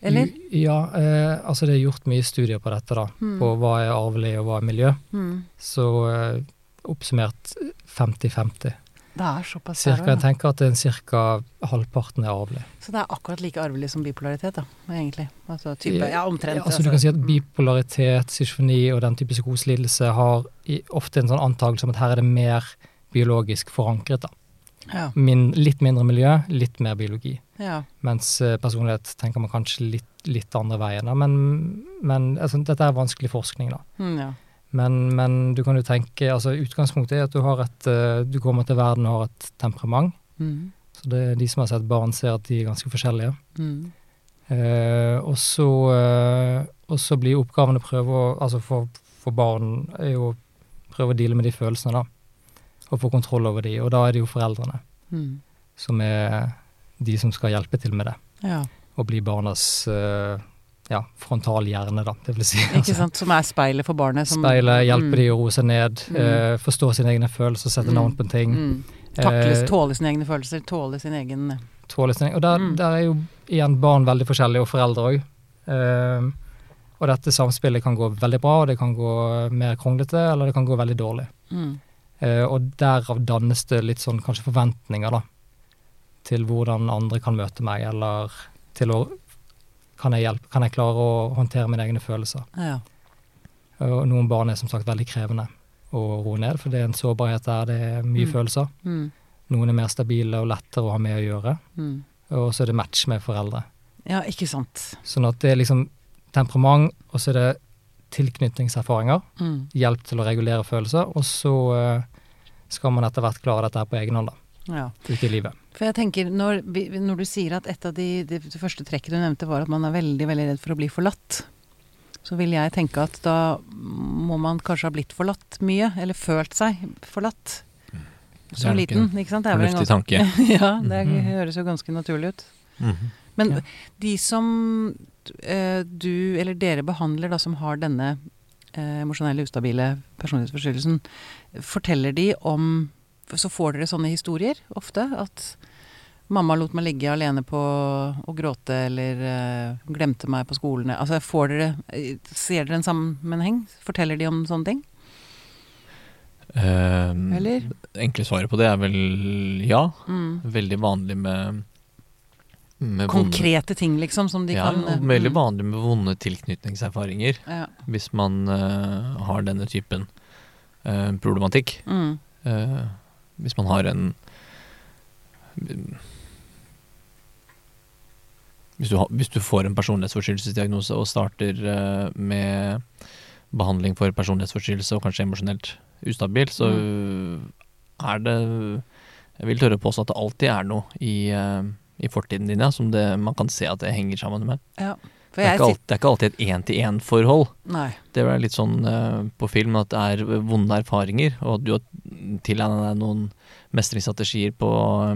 A: Eller?
C: Ja, eh, altså det er gjort mye studier på dette, da.
A: Mm.
C: På hva er arvelig, og hva er miljø.
A: Mm.
C: Så eh, oppsummert 50-50.
A: Det er såpass
C: Cirka,
A: der,
C: jeg
A: da.
C: tenker at det er ca. halvparten er arvelig.
A: Så det er akkurat like arvelig som bipolaritet, da, egentlig. Altså type,
C: Ja,
A: ja, omtrent.
C: altså, du kan si at bipolaritet, schizofreni og den type psykoselidelse har i, ofte en sånn antakelse om at her er det mer biologisk forankret. Da.
A: Ja,
C: Min, litt mindre miljø, litt mer biologi.
A: ja.
C: Mens eh, personlighet tenker man kanskje litt, litt andre veien. Da. Men, men altså, dette er vanskelig forskning, da.
A: Mm, ja.
C: Men, men du kan jo tenke, altså utgangspunktet er at du, har et, eh, du kommer til verden og har et temperament.
A: Mm,
C: Så det, de som har sett barn, ser at de er ganske forskjellige.
A: mm,
C: Eh, og, så, eh, og så blir oppgaven å prøve å Altså for, for barn er jo å prøve å deale med de følelsene, da. Og få kontroll over de. Og da er det jo foreldrene
A: mm.
C: som er de som skal hjelpe til med det.
A: Ja,
C: Og bli barnas eh, ja, frontalhjerne, da. Det vil si.
A: ikke sant. Som er speilet for barnet. Som,
C: altså. Speilet,
A: Mm,
C: hjelpe de å roe seg ned,
A: Mm.
C: eh, forstå sine egne følelser, sette
A: Mm.
C: navn på ting.
A: Mm. Takles,
C: Eh,
A: tåle sine egne følelser, tåle sin egen
C: tåle sine Og der,
A: Mm.
C: der er jo igjen barn veldig forskjellige, og foreldre òg. og dette samspillet kan gå veldig bra, og det kan gå mer kronglete, eller det kan gå veldig dårlig.
A: mm.
C: Eh, og derav dannes det litt sånn kanskje forventninger, da. Til hvordan andre kan møte meg, eller til å Kan jeg hjelpe? Kan jeg klare å håndtere mine egne følelser?
A: Ja.
C: Eh, Og noen barn er som sagt veldig krevende å roe ned, for det er en sårbarhet der, det er mye
A: Mm.
C: følelser.
A: Mm,
C: Noen er mer stabile og lettere å ha med å gjøre,
A: mm.
C: og så er det match med foreldre.
A: ja, ikke sant.
C: Sånn at det er liksom temperament, og så er det tilknytningserfaringer,
A: Mm.
C: hjelp til å regulere følelser, og så eh, skal man etter hvert klare dette her på egen hånd, da,
A: Ja.
C: ute i livet.
A: For jeg tenker, når, vi- når du sier at et av de, de første trekkene du nevnte var at man er veldig, veldig redd for å bli forlatt, så vil jeg tenke at da må man kanskje ha blitt forlatt mye, eller følt seg forlatt som
B: Mm. nok en
A: liten. Ikke sant? Det er vel en
B: Fornuftig tanke. Mm-hmm.
A: ganske- ja, det er,
C: Mhm.
A: høres jo ganske naturlig ut.
B: Mhm.
A: Men
C: Ja.
A: de som eh, du eller dere behandler da, som har denne eh, emosjonelle ustabile personlighetsforstyrrelsen, forteller de om Så får dere sånne historier ofte? At Mamma lot meg ligge alene på og gråte, eller eh, glemte meg på skolene. Altså, får dere, eh, ser dere en sammenheng? Forteller de om sånne ting?
B: Eh,
A: Eller?
B: Enkle svaret på det er vel ja.
A: Mm.
B: Veldig vanlig med, med
A: Konkrete ting, liksom, som de
B: vonde, ja,
A: kan eh,
B: og Veldig
A: mm.
B: vanlig med vonde tilknytningserfaringer.
A: Ja.
B: hvis man eh, har denne typen eh, problematikk.
A: Mm.
B: Eh, hvis man har en hvis du, har, hvis du får en personlighetsforstyrrelsesdiagnose og starter eh, med behandling for personlighetsforstyrrelse og kanskje emosjonelt ustabil, så er det Jeg vil tørre å påstå at det alltid er noe i, eh, i fortiden din ja, som det, man kan se at det henger sammen med.
A: For
B: Det er,
A: jeg sitter
B: ikke alt, det er ikke alltid et én-til-én-forhold.
A: Nei.
B: Det er litt sånn eh, på film at det er vonde erfaringer, og at du har tilegna deg noen mestringsstrategier på, eh,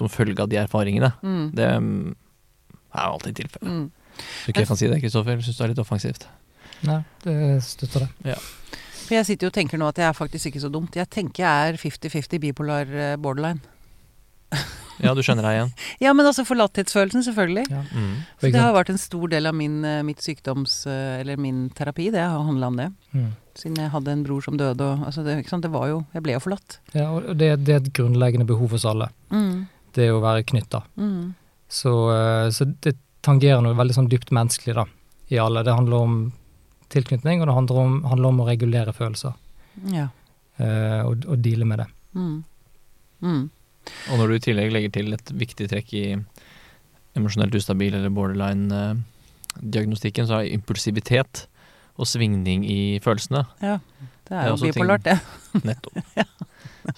B: som følge av de erfaringene.
A: Mm.
B: Det mm, er alltid tilfellet.
A: Mm.
B: Så ikke jeg kan si det, Kristoffer. Syns du er litt offensivt.
C: Nei, det støtter det.
A: For jeg sitter jo og tenker nå at jeg er faktisk ikke så dumt. Jeg tenker jeg er 50-50 bipolar eh, borderline.
B: Ja, du skjønner deg igjen.
A: Ja, men altså forlatthetsfølelsen, selvfølgelig.
B: Mm.
A: For det har vært en stor del av min, eh, mitt sykdoms... eh, Eller min terapi, det har handla om det.
C: Mm.
A: Siden jeg hadde en bror som døde og altså det, ikke sant? det var jo Jeg ble jo forlatt.
C: Ja, og det, det er et grunnleggende behov hos alle,
A: Mm.
C: det å være knytta.
A: Mm.
C: Så, eh, så det tangerer noe veldig sånn dypt menneskelig da, i alle. Det handler om tilknytning, og det handler om, handler om å regulere følelser
A: Ja.
C: eh, og, og deale med det.
A: Mm. Mm.
B: Og når du i tillegg legger til et viktig trekk i emosjonelt ustabil eller borderline-diagnostikken, så er impulsivitet og svingning i følelsene
A: Ja. Det
B: Det
A: er
B: er
A: jo
B: også ting-
A: bipolart, det.
B: Nettopp.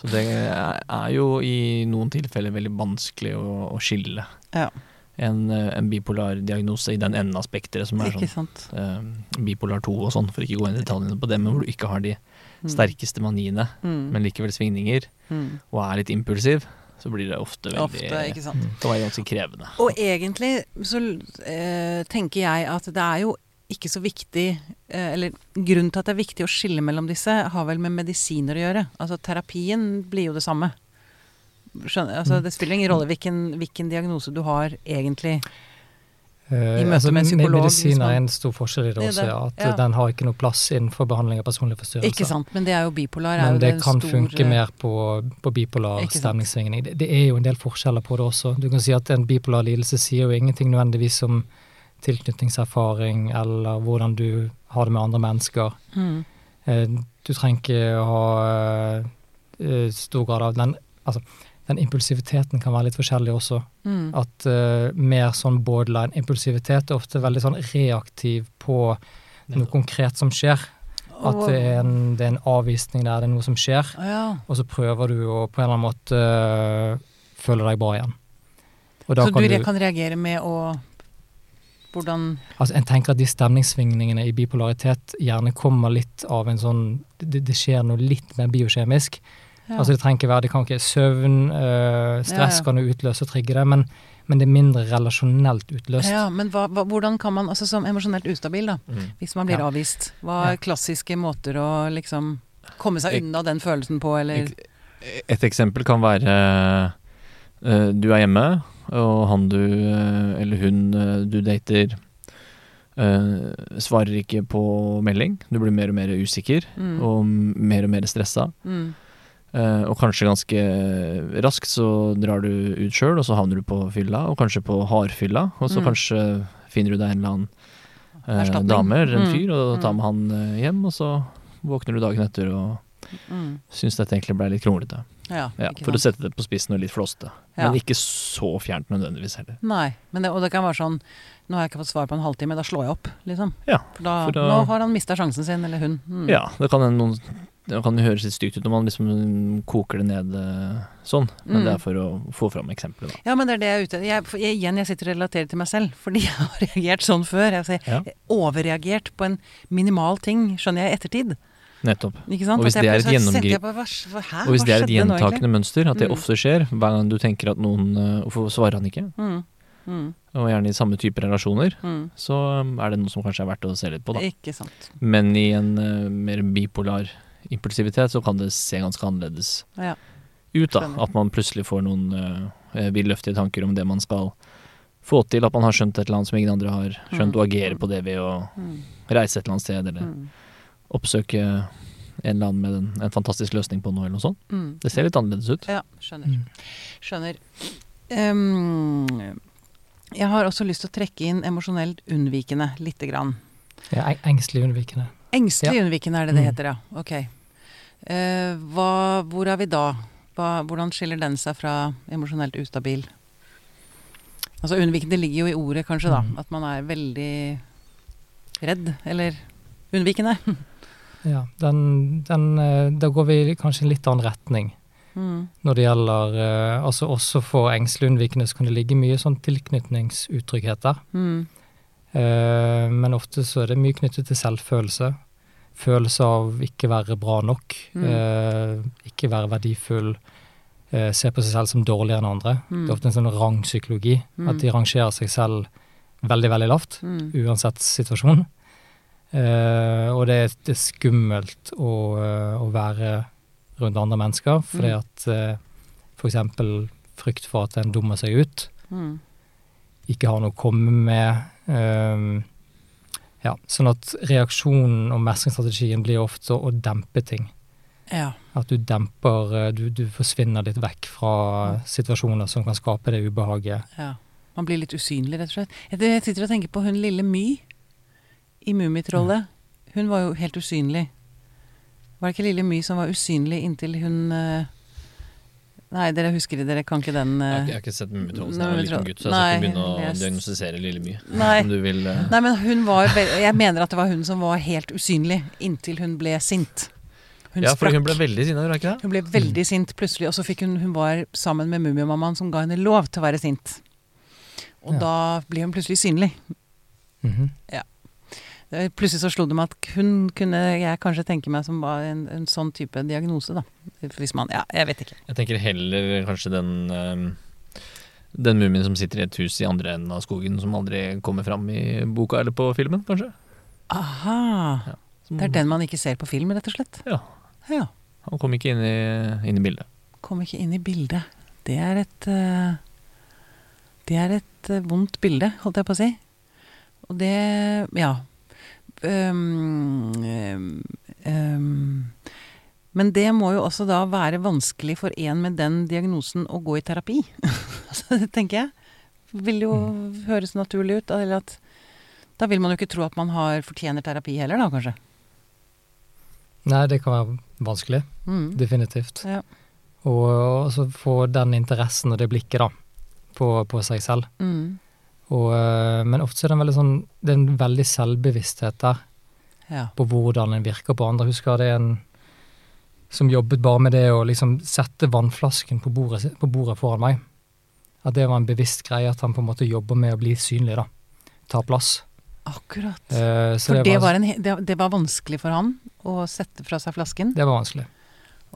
B: Så det er er jo i noen tilfeller veldig vanskelig å, å skille
A: Ja.
B: en, eh, en bipolar diagnose i den enden av spekteret som er
A: Ikke
B: sånn
A: sant.
B: eh, bipolar 2 og sånn, for ikke gå inn i detaljene på det, men hvor du ikke har de
A: Mm.
B: sterkeste maniene,
A: Mm.
B: men likevel svingninger,
A: Mm.
B: og er litt impulsiv, så blir det ofte veldig
A: Ofte, ikke
C: Mm.
A: sant.
B: kan være ganske krevende.
A: Og egentlig så eh, tenker jeg at det er jo ikke så viktig eh, Eller grunnen til at det er viktig å skille mellom disse, har vel med medisiner å gjøre. Altså terapien blir jo det samme. Skjønner, altså,
C: Mm.
A: det spiller ingen rolle hvilken, hvilken diagnose du har, egentlig.
C: Eh,
A: I møte med en psykolog, hvis
C: Medisiner
A: man-
C: er en stor forskjell i det,
A: Det er
C: også,
A: det,
C: ja, at
A: ja.
C: eh, den har ikke noe plass innenfor behandling av personlige forstyrrelser.
A: Ikke sant, men det er jo bipolar. er
C: altså- Men
A: jo
C: det
A: en
C: kan
A: stor,
C: funke
A: eh,
C: mer på, på bipolar
A: Ikke sant.
C: stemningssvingning. Det, det er jo en del forskjeller på det også. Du kan si at en bipolar lidelse sier jo ingenting nødvendigvis om tilknytningserfaring eller hvordan du har det med andre mennesker.
A: Mm.
C: Eh, Du trenger ikke å ha eh, stor grad av den Altså, den impulsiviteten kan være litt forskjellig også.
A: Mm.
C: At eh, mer sånn borderline impulsivitet er ofte veldig sånn reaktiv på noe konkret som skjer. At det er en, det er en avvisning der, det er noe som skjer.
A: Å ja.
C: Og så prøver du å på en eller annen måte øh, føle deg bra igjen. Og da
A: Så du,
C: kan du,
A: re- kan reagere med å Hvordan
C: altså En tenker at de stemningssvingningene i bipolaritet gjerne kommer litt av en sånn Det, det skjer noe litt mer biokjemisk.
A: ja.
C: Altså Det trenger ikke være det kan ikke søvn, øh, stress
A: Ja, ja.
C: kan jo utløse og trigge det, men, men det er mindre relasjonelt utløst.
A: ja, Men hva, hva, hvordan kan man Altså som emosjonelt ustabil, da.
B: Mm.
A: Hvis man blir
C: Ja.
A: avvist. Hva er
C: Ja.
A: klassiske måter å liksom komme seg
B: Jeg-
A: unna den følelsen på, eller
B: Ek- Et eksempel kan være eh, du er hjemme, og han du eh, eller hun eh, du dater eh, svarer ikke på melding. Du blir mer og mer usikker
A: mm,
B: og mer og mer stressa.
A: mm,
B: Eh, og kanskje ganske raskt så drar du ut sjøl, og så havner du på fylla, og kanskje på hardfylla, og så
A: Mm.
B: kanskje finner du deg en eller annen eh,
A: Erstatning.
B: dame eller en
A: Mm.
B: fyr, og
A: Mm.
B: tar med han eh, hjem, og så våkner du dagen etter og
A: mm.
B: syns dette egentlig ble litt kronglete.
A: Ja,
B: Ja,
A: ikke
B: for å
A: sant.
B: sette det på spissen og litt flåste.
A: Ja.
B: Men ikke så fjernt nødvendigvis heller.
A: Nei. Men det, og det kan være sånn Nå har jeg ikke fått svar på en halvtime, da slår jeg opp, liksom.
B: Ja,
A: for da,
B: for da-
A: nå har han mista sjansen sin, eller hun. Mm.
B: Ja, det kan, hende noen, det kan jo høres litt stygt ut når man liksom koker det ned eh, sånn, men
A: Mm.
B: det er for å få fram eksempler, da.
A: Ja, men det er det jeg er ute etter. Jeg, for jeg, igjen, jeg sitter og relaterer til meg selv, fordi jeg har reagert sånn før. Altså, jeg
B: Ja.
A: har overreagert på en minimal ting, skjønner jeg, i ettertid.
B: Nettopp.
A: Ikke sant?
B: Og hvis
A: At jeg
B: det er et
A: plutselig tenkte
B: gjennomgrip-
A: jeg på, hva- hva- hæ?
B: Og hvis
A: Hva
B: det er et
A: skjedde nå egentlig?
B: gjentakende mønster, at det
A: Mm.
B: ofte skjer hver gang du tenker at noen eh, Hvorfor svarer han ikke?
A: Mm, mm,
B: Og gjerne i samme type relasjoner,
A: mm.
B: så eh, er det noe som kanskje er verdt å se litt på, da.
A: Ikke sant.
B: Men i en eh, mer bipolar impulsivitet så kan det se ganske annerledes
A: Ja.
B: ut. da,
A: Skjønner.
B: At man plutselig får noen eh, vidløftige tanker om det man skal få til. At man har skjønt et eller annet som ingen andre har skjønt,
A: Mm.
B: og agerer på det ved å
A: Mm.
B: reise et eller annet sted, eller
A: Mm.
B: oppsøke en eller annen med en, en fantastisk løsning på noe, eller noe sånt.
A: Mm.
B: Det ser litt annerledes ut.
A: Ja, skjønner.
C: Mm.
A: Skjønner. Ehm, jeg har også lyst til å trekke inn emosjonelt unnvikende, lite grann.
C: Ja, eng- engstelig unnvikende.
A: Engstelig unnvikende er det det
C: Mm.
A: heter, ja. Ok. Eh, hva, hvor er vi da? Hva, hvordan skiller den seg fra emosjonelt ustabil? Altså unnvikende ligger jo i ordet, kanskje, da.
C: Mm.
A: At man er veldig redd, eller unnvikende.
C: Ja, den, den, eh, da går vi kanskje i en litt annen retning
A: Mm.
C: når det gjelder eh, altså Også for engstelig unnvikende så kan det ligge mye sånn tilknytningsutrygghet der.
A: Mm.
C: Eh, men ofte så er det mye knyttet til selvfølelse. Følelse av ikke være bra nok,
A: Mm.
C: eh, ikke være verdifull, eh, se på seg selv som dårligere enn andre.
A: Mm.
C: Det er ofte en sånn rangpsykologi,
A: Mm.
C: at de rangerer seg selv veldig, veldig lavt,
A: Mm.
C: uansett situasjon. Eh, og det er, det er skummelt å, eh, å være rundt andre mennesker, fordi
A: Mm.
C: at eh, for eksempel frykt for at en dummer seg ut,
A: Mm.
C: ikke har noe å komme med. ehm, ja, sånn at reaksjonen og mestringsstrategien blir ofte å dempe ting.
A: Ja.
C: At du demper eh, Du, du forsvinner litt vekk fra situasjoner som kan skape det ubehaget.
A: Ja. Man blir litt usynlig, rett og slett. Jeg jeg sitter og tenker på hun lille My i Mummitrollet. Hun var jo helt usynlig. Var det ikke lille My som var usynlig inntil hun eh, Nei, dere husker det, dere kan ikke den
B: Jeg
A: eh,
B: har ikke- jeg har ikke sett Mummitrollen siden
A: Nei,
B: jeg var
A: Mummitroll-
B: liten gutt, så jeg skal
A: Nei,
B: ikke begynne å
A: les.
B: diagnostisere lille mye.
A: Nei.
B: Om du vil eh,
A: Nei, men hun var vel- Jeg mener at det var hun som var helt usynlig inntil hun ble sint. Hun
B: Ja, for
A: sprakk.
B: hun ble Mm. veldig sinna, gjorde hun ikke det?
A: Hun ble veldig sint plutselig, og så fikk hun Hun var sammen med Mummiomammaen som ga henne lov til å være sint. Og
C: Ja.
A: da ble hun plutselig synlig.
C: Mhm.
A: Eh, Plutselig så slo det meg at hun kunne jeg kanskje tenke meg som var en, en sånn type diagnose, da. Hvis man Ja, jeg vet ikke.
B: Jeg tenker heller kanskje den ehm, Den mumien som sitter i et hus i andre enden av skogen, som aldri kommer fram i boka eller på filmen, kanskje.
A: Aha.
B: Som,
A: Det er den man ikke ser på film, rett og slett.
B: Ja.
A: Ja.
B: Han kom ikke inn i, inn i bildet.
A: Kom ikke inn i bildet. Det er et eh, Det er et eh, vondt bilde, holdt jeg på å si. Og det Ja. Ehm, ehm, ehm. men det må jo også da være vanskelig for en med den diagnosen å gå i terapi. Altså, det tenker jeg. Vil jo høres naturlig ut. Eller at Da vil man jo ikke tro at man har fortjener terapi heller, da kanskje.
C: Nei, det kan være vanskelig.
A: Mm.
C: Definitivt.
A: Ja.
C: Og og så få den interessen og det blikket, da, på, på seg selv.
A: Mm.
C: Og, eh, men ofte så er det en veldig sånn Det er en veldig selvbevissthet der.
A: Ja.
C: på hvordan en virker på andre. Jeg Husker det er en som jobbet bare med det å liksom sette vannflasken på bordet, si- på bordet foran meg. At det var en bevisst greie, at han på en måte jobber med å bli synlig, da. Ta plass.
A: Akkurat.
C: Eh, så
A: For det var, en, he- det, det var vanskelig for han å sette fra seg flasken?
C: det var vanskelig.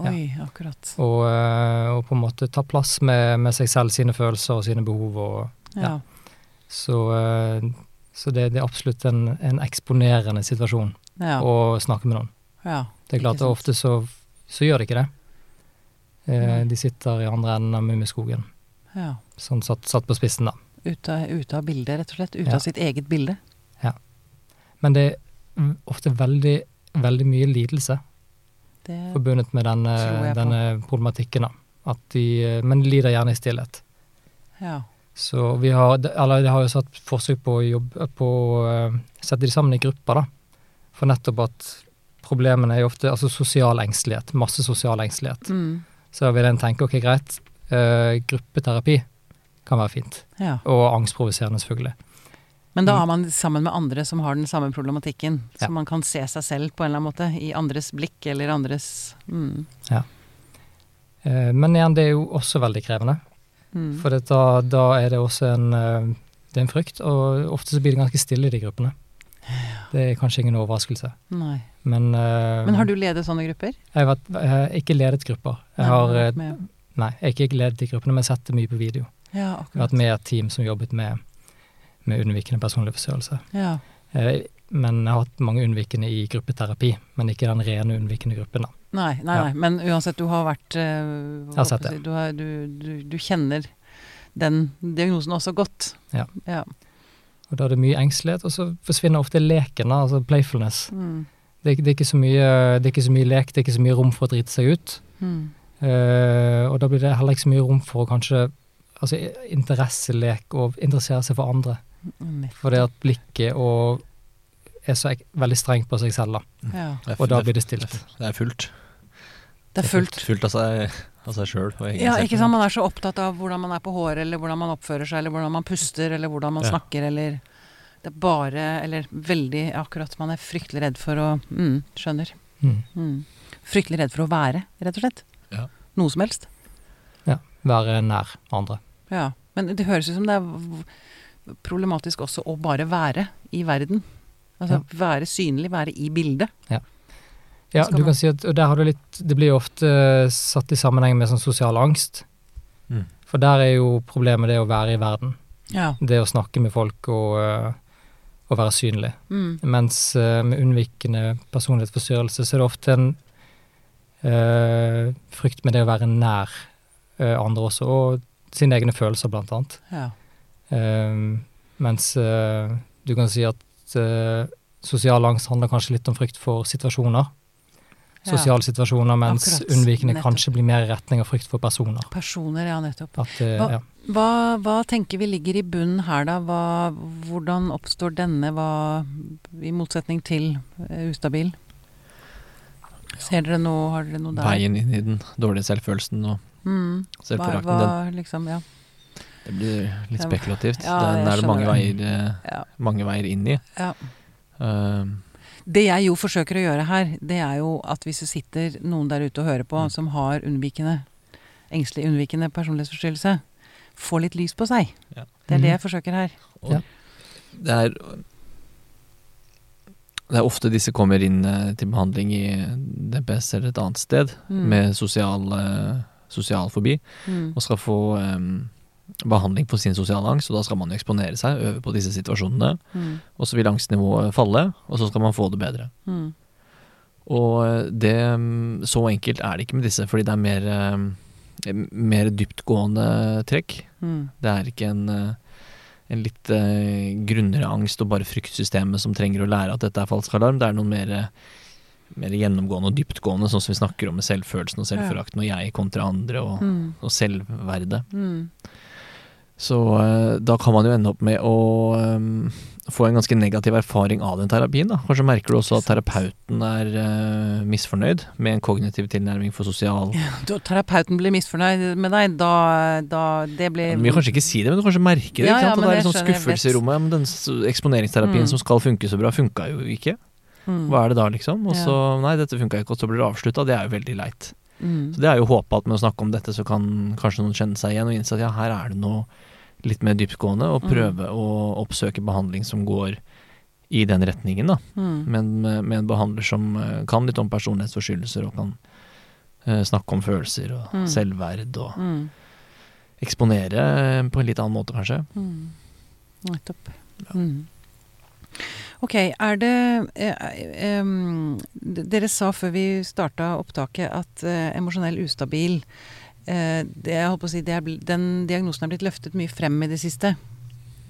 C: ja.
A: Oi, akkurat.
C: Og, eh, og på en måte ta plass med, med seg selv, sine følelser og sine behov. Og,
A: Ja.
C: så eh, så det, det er absolutt en, en eksponerende situasjon
A: ja.
C: å snakke med noen.
A: ja.
C: Det er klart,
A: Ikke sant?
C: ofte så, så gjør det ikke det. Eh,
A: Nei.
C: de sitter i andre enden av Mummiskogen,
A: ja.
C: sånn satt, satt på spissen, da.
A: Ute, av- ute av bildet, rett og slett. Ute
C: Ja.
A: av sitt eget bilde.
C: Men det er mm, ofte veldig, veldig mye lidelse
A: Det,
C: forbundet med denne,
A: Tror jeg på.
C: denne problematikken, da. At de, eh, men de lider gjerne i stillhet.
A: ja.
C: Så vi har, de- eller de har jo satt forsøk på å jobbe på å eh, sette de sammen i grupper, da. For nettopp at problemene er jo ofte altså sosial engstelighet. Masse sosial engstelighet.
A: Mm.
C: Så vil en tenke ok, greit, eh, gruppeterapi kan være fint.
A: ja.
C: Og angstprovoserende, selvfølgelig.
A: Men da
C: Mm.
A: er man sammen med andre som har den samme problematikken. Så
C: Ja.
A: man kan se seg selv på en eller annen måte i andres blikk eller andres mm.
C: Eh, men igjen, det er jo også veldig krevende.
A: Mm.
C: For det, da, da er det også en, eh, det er en frykt, og ofte så blir det ganske stille i de gruppene. Det er kanskje ingen overraskelse.
A: Nei.
C: Men, eh,
A: Men har du ledet sånne grupper?
C: jeg har vært, jeg har ikke ledet grupper. Jeg har,
A: Nei,
C: eh,
A: vært med.
C: nei, jeg har ikke ledet de gruppene, men sett det mye på video.
A: Ja,
C: Jeg har
A: akkurat.
C: vært med i et team som jobbet med, med unnvikende personlig forstyrrelse.
A: Ja.
C: Eh, Men jeg har hatt mange unnvikende i gruppeterapi, men ikke den rene unnvikende gruppen. da.
A: Nei, nei,
C: Ja.
A: nei, men uansett, du har vært eh, hva
C: Jeg har sett
A: skal jeg si,
C: det.
A: Du, har, du, du, du kjenner den diagnosen også godt.
C: Ja.
A: ja.
C: Og da er det mye engstelighet, og så forsvinner ofte leken, da, altså playfulness.
A: Mm.
C: Det er, ikke- det, er ikke så mye, det er ikke så mye lek, det er ikke så mye rom for å drite seg ut.
A: Mm.
C: Eh, og da blir det heller ikke så mye rom for å kanskje altså i- interesselek og interessere seg for andre.
A: Nett-
C: For det at blikket og er så ek- veldig strengt på seg selv, da.
A: Ja.
B: Det er
C: Og da
B: fullt-
C: blir det stilt.
B: Det er fullt.
A: Det er fullt.
B: Fullt av seg, av seg sjøl.
A: Ja, ikke sant? Man er så opptatt av hvordan man er på håret, eller hvordan man oppfører seg, eller hvordan man puster, eller hvordan man
B: Ja.
A: snakker, eller Det er bare Eller veldig akkurat Man er fryktelig redd for å mm, Skjønner.
C: Mm.
A: Mm. Fryktelig redd for å være, rett og slett.
B: Ja.
A: Noe som helst.
C: Være nær andre.
A: Ja. Men det høres ut som det er v- problematisk også å bare være i verden. Altså være synlig, være i bildet.
C: Ja,
A: Skal
C: du
A: man-
C: kan si at og der har du litt Det blir jo ofte eh, satt i sammenheng med sånn sosial angst.
B: Mm.
C: For der er jo problemet det å være i verden.
A: Ja.
C: Det å snakke med folk og, eh, og være synlig.
A: Mm.
C: Mens eh, med unnvikende personlighetsforstyrrelse så er det ofte en eh, frykt med det å være nær eh, andre også, og sine egne følelser, blant annet.
A: ja.
C: Eh, mens eh, du kan si at eh, sosial angst handler kanskje litt om frykt for situasjoner. Sosiale situasjoner, mens
A: Akkurat.
C: unnvikende
A: Nettopp.
C: kanskje blir mer i retning av frykt for personer.
A: ja. Personer, ja, nettopp.
C: At, eh,
A: Hva-
C: ja.
A: Hva, hva tenker vi ligger i bunnen her, da? Hva, hvordan oppstår denne, hva, i motsetning til eh, ustabil? Ser dere noe, har dere noe der?
B: Veien inn i den dårlige selvfølelsen og
A: Mm. Hva,
B: selvforakten.
A: hva,
B: Den
A: liksom, ja.
B: Det blir litt
A: Ja,
B: spekulativt.
A: ja,
B: Den
A: jeg
B: er det mange
A: skjønner
B: veier, eh,
A: Ja.
B: mange veier inn i.
A: Ja.
B: Ehm,
A: Det jeg jo forsøker å gjøre her, det er jo at hvis det sitter noen der ute og hører på
B: Mm.
A: som har unnvikende, engstelig unnvikende personlighetsforstyrrelse, få litt lys på seg.
B: Ja. Mm.
A: Det er det
C: Mhm.
A: jeg forsøker her.
B: og
C: Ja.
B: det er Det er ofte disse kommer inn eh, til behandling i DPS eller et annet sted
A: Mm.
B: med sosial, eh, sosial fobi
A: Mm.
B: og skal få ehm, behandling for sin sosiale angst, og da skal man jo eksponere seg, øve på disse situasjonene,
A: Mm.
B: og så vil angstnivået falle, og så skal man få det bedre.
A: Mm.
B: Og det mm, Så enkelt er det ikke med disse, fordi det er mer, eh, mer dyptgående trekk.
A: Mm.
B: Det er ikke en, eh, en litt eh, grunnere angst og bare fryktsystemet som trenger å lære at dette er falsk alarm. Det er noe mer, eh, mer gjennomgående og dyptgående, sånn som vi snakker om med selvfølelsen og selvforakten og jeg kontra andre og,
A: Mm.
B: og selvverdet.
A: Mm.
B: Så eh, da kan man jo ende opp med å eh, få en ganske negativ erfaring av den terapien. Da. Kanskje merker du også at terapeuten er eh, misfornøyd med en kognitiv tilnærming for sosial
A: Da terapeuten blir misfornøyd med deg, da, da Det blir
B: Du vil kanskje ikke si det, men du kanskje merker det.
A: Ehm, Ja, ja,
B: ikke sant? At
A: men
B: det er
A: jeg
B: en sånn
A: skjønner, jeg
B: skuffelse i
A: vet.
B: rommet. Ja, men den s- eksponeringsterapien
A: Mm.
B: som skal funke så bra, funka jo ikke.
A: Mm.
B: Hva er det da, liksom? Og
A: Ja.
B: så nei, dette funka ikke, og så blir det avslutta. Det er jo veldig leit.
A: Mm.
B: Så det er jo håpa at med å snakke om dette, så kan kanskje noen kjenne seg igjen og innse at ja, her er det noe litt mer dyptgående, og
A: Mm.
B: prøve å oppsøke behandling som går i den retningen, da.
A: Mm.
B: Men med, med en behandler som eh, kan litt om personlighetsforstyrrelser, og kan eh, snakke om følelser og
A: Mm.
B: selvverd, og
A: Mm.
B: eksponere eh, på en litt annen måte, kanskje.
A: Mm. Nettopp. Mm. Ok, er det eh, eh, em, d- Dere sa før vi starta opptaket at eh, emosjonell ustabil eh, det, jeg holdt på å si, det er, bl- Den diagnosen er blitt løftet mye frem i det siste.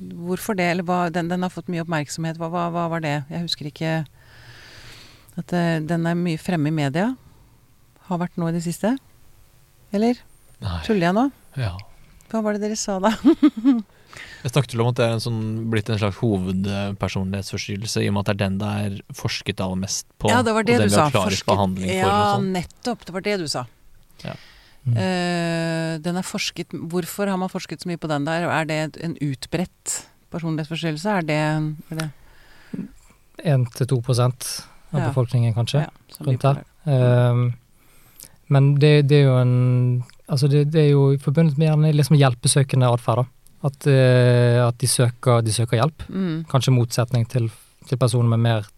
A: Hvorfor det? Eller hva, den, den har fått mye oppmerksomhet. Hva, hva, hva var det? Jeg husker ikke at eh, den er mye fremme i media. Har vært nå i det siste. Eller?
B: Nei,
A: Tuller jeg nå?
B: ja.
A: Hva var det dere sa da?
B: Jeg snakket vel om at det er en sånn, blitt en slags hovedpersonlighetsforstyrrelse, i og med at det er den det er forsket aller mest på.
A: ja, det var det
B: og
A: du
B: den
A: sa.
B: vi har klarest
A: Forsket-
B: behandling for.
A: ja,
B: og sånn.
A: nettopp. Det var det du sa.
B: Ja.
C: Mm.
A: Eh, den er forsket Hvorfor har man forsket så mye på den der? Er det en utbredt personlighetsforstyrrelse? Er det, er det
C: 1-2 av
A: Ja.
C: befolkningen, kanskje.
A: ja, Mm. som
C: rundt
A: bipolar.
C: der. Ehm, men det, det er jo en Altså, det, det er jo forbundet med gjerne liksom hjelpesøkende atferd, da. At, eh, at de, søker, de søker hjelp.
A: Mm,
C: Kanskje motsetning til, til personer med mer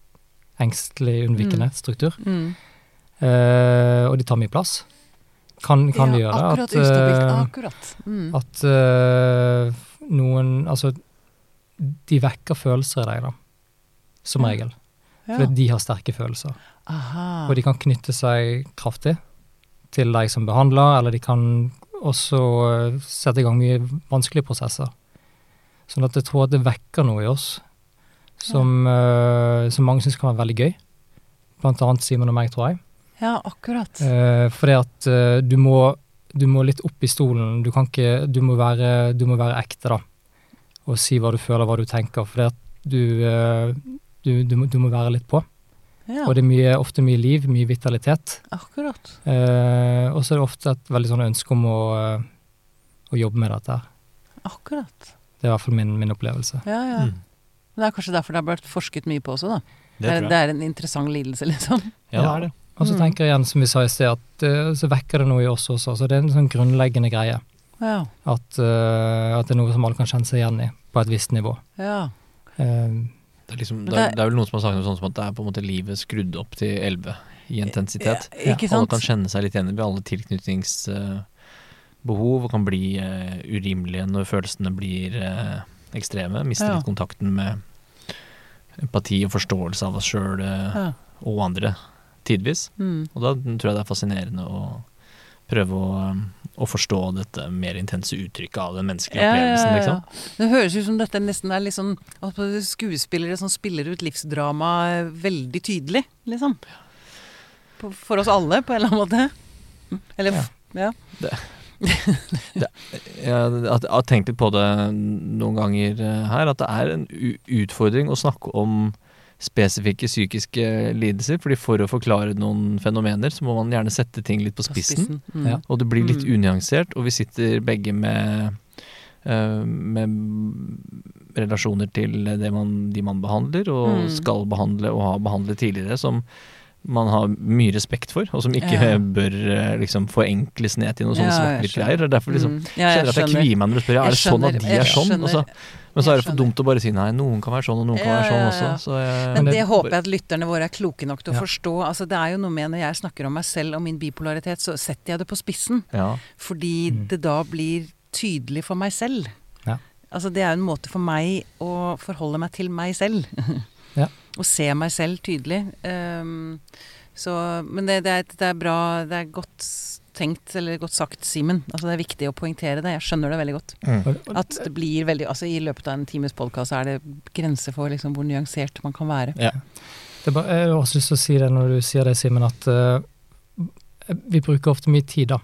C: engstelig, unnvikende struktur.
A: mm.
C: Eh, og de tar mye plass. Kan, kan det
A: Ja,
C: gjøre
A: akkurat
C: at, eh,
A: ustabilt. Akkurat. Mm.
C: at eh, noen Altså, de vekker følelser i deg, da. som regel.
A: Ja.
C: For de har sterke følelser.
A: Aha.
C: Og de kan knytte seg kraftig til deg som behandler, eller de kan også eh, sette i gang mye vanskelige prosesser. Sånn at jeg tror at det vekker noe i oss som, eh, som mange syns kan være veldig gøy. Blant annet Simon og meg, tror jeg.
A: Ja, akkurat.
C: Uh, fordi at eh, du, må, du må litt opp i stolen. Du, kan ikke, du, må være, du må være ekte, da. Og si hva du føler, hva du tenker. Fordi at du, eh, du, du, må, du må være litt på.
A: Ja,
C: Og det er mye, ofte mye liv, mye vitalitet.
A: akkurat.
C: Eh, og så er det ofte et veldig sånn ønske om å, eh, å jobbe med dette. her.
A: Akkurat.
C: Det er i hvert fall min, min opplevelse.
A: Ja, ja.
B: Mm.
A: Men det er kanskje derfor det har blitt forsket mye på også, da.
B: Det
A: er,
B: tror
A: det
B: jeg.
A: er en interessant lidelse, liksom.
B: Ja, det er det.
C: Og så
A: Mm.
C: tenker jeg igjen, som vi sa i sted, at eh, så vekker det noe i oss også. Så det er en sånn grunnleggende greie.
A: Ja.
C: At, eh, at det er noe som alle kan kjenne seg igjen i, på et visst nivå.
A: ja.
C: Eh,
B: Det er, liksom,
A: Men
B: det, er,
A: det-
B: det er vel noen som har sagt noe sånt som at det er på en måte livet skrudd opp til 11 i intensitet.
A: Ja, ikke
B: Alle
A: sant?
B: kan kjenne seg litt igjen i alle tilknytningsbehov og kan bli eh, urimelige når følelsene blir eh, ekstreme. Miste
A: Ja.
B: litt kontakten med empati og forståelse av oss sjøl eh,
A: Ja.
B: og andre, tidvis.
A: Mm.
B: Og da tror jeg det er fascinerende å prøve å, eh, å forstå dette mer intense uttrykket av den menneskelige opplevelsen, liksom.
A: Det høres ut som dette nesten er litt sånn altså, skuespillere som spiller ut livsdrama eh, veldig tydelig, liksom. På, for oss alle, på en eller annen måte. Mm. Eller
C: Ja.
A: ja.
B: Jeg har- jeg har tenkt litt på det noen ganger eh, her, at det er en u- utfordring å snakke om spesifikke psykiske lidelser, fordi for å forklare noen fenomener, så må man gjerne sette ting litt på
A: på
B: spissen,
A: Mm.
C: Ja.
B: og det blir litt
A: Mm.
B: unyansert, og vi sitter begge med eh, med relasjoner til det man, de man behandler, og
A: Mm.
B: skal behandle og har behandlet tidligere, som man har mye respekt for, og som ikke
A: Ja.
B: bør eh, liksom forenkles ned til noe sånn
A: Ja, jeg
B: svart-hvitt-greier. Det er derfor liksom
A: Mm. Ja,
B: kjenner at jeg
A: skjønner.
B: kvier meg når du spør ja, er det
A: Jeg
B: sånn at
A: skjønner,
B: de er
A: jeg
B: sånn. Og så,
A: skjønner.
B: men så
A: jeg
B: er det for
A: skjønner.
B: dumt å bare si nei, noen kan være sånn og noen kan
A: Ja,
B: være sånn
A: ja,
B: også.
A: ja.
B: Så jeg,
A: Men
C: Men
A: det
C: det-
A: håper jeg at lytterne våre er kloke nok til å
C: Ja.
A: forstå. Altså, det er jo noe med Når jeg snakker om meg selv og min bipolaritet, så setter jeg det på spissen.
B: ja,
A: Fordi
C: Mm.
A: det da blir tydelig for meg selv.
C: Ja.
A: Altså, det er jo en måte for meg å forholde meg til meg selv.
C: Ja.
A: Og se meg selv tydelig. Ehm, så, men det, det, er, et- det er bra Det er godt tenkt, eller godt sagt, Simen. Altså, det er viktig å poengtere det. Jeg skjønner det veldig godt.
C: og-
A: At det blir veldig Altså, i løpet av en times podkast er det grenser for liksom, hvor nyansert man kan være.
C: Det er bare, jeg har også lyst til å si det når du sier det, Simen, at eh, vi bruker ofte mye tid, da,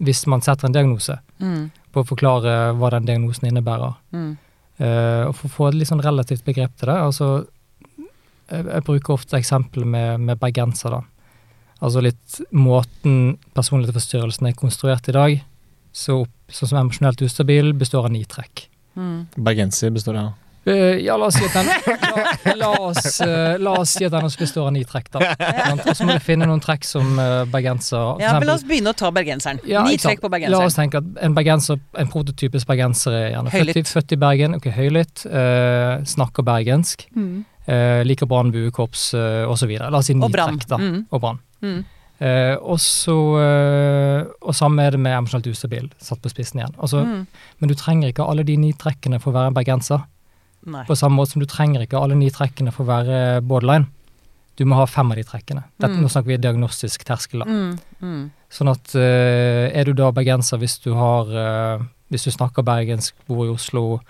C: hvis man setter en diagnose,
A: Mm.
C: på å forklare hva den diagnosen innebærer.
A: Mm.
C: Eh, og for å få et litt sånn relativt begrep til det, altså Jeg, jeg bruker ofte eksempel med, med bergenser, da. Altså litt måten personlighetsforstyrrelsen er konstruert i dag, så opp, sånn som emosjonelt ustabil, består av ni trekk.
A: Mm.
B: Bergenser består av
C: Eh, ja, la oss si at den La, la, oss, eh, la oss si at den også består av ni trekk, da. Sant? Og så må du finne noen trekk som eh, bergenser for
A: Ja, men la
C: eksempel-
A: oss begynne å ta bergenseren.
C: Ja,
A: Ni
C: ikke sant.
A: trekk på
C: La oss
A: bergenseren.
C: tenke at en bergenser, en prototypisk bergenser er gjerne født i,
A: Høylytt.
C: født i Bergen, ok, høylytt, eh, snakker bergensk,
A: Mm.
C: eh, liker brann, buekorps eh, og så videre. La oss si ni
A: Og brann.
C: trekk, da.
A: Mm.
C: Og brann.
A: Mm.
C: Eh, og så eh, Og samme er det med emosjonelt ustabil, satt på spissen igjen. Altså,
A: Mm.
C: Men du trenger ikke alle de ni trekkene for å være en bergenser.
A: Nei.
C: På samme måte som du trenger ikke alle ni trekkene for å være borderline. Du må ha fem av de trekkene. Dette,
A: Mm.
C: Nå snakker vi diagnostisk terskel. da.
A: Mm. Mm.
C: Sånn at eh, er du da bergenser hvis du har eh, Hvis du snakker bergensk, bor i Oslo,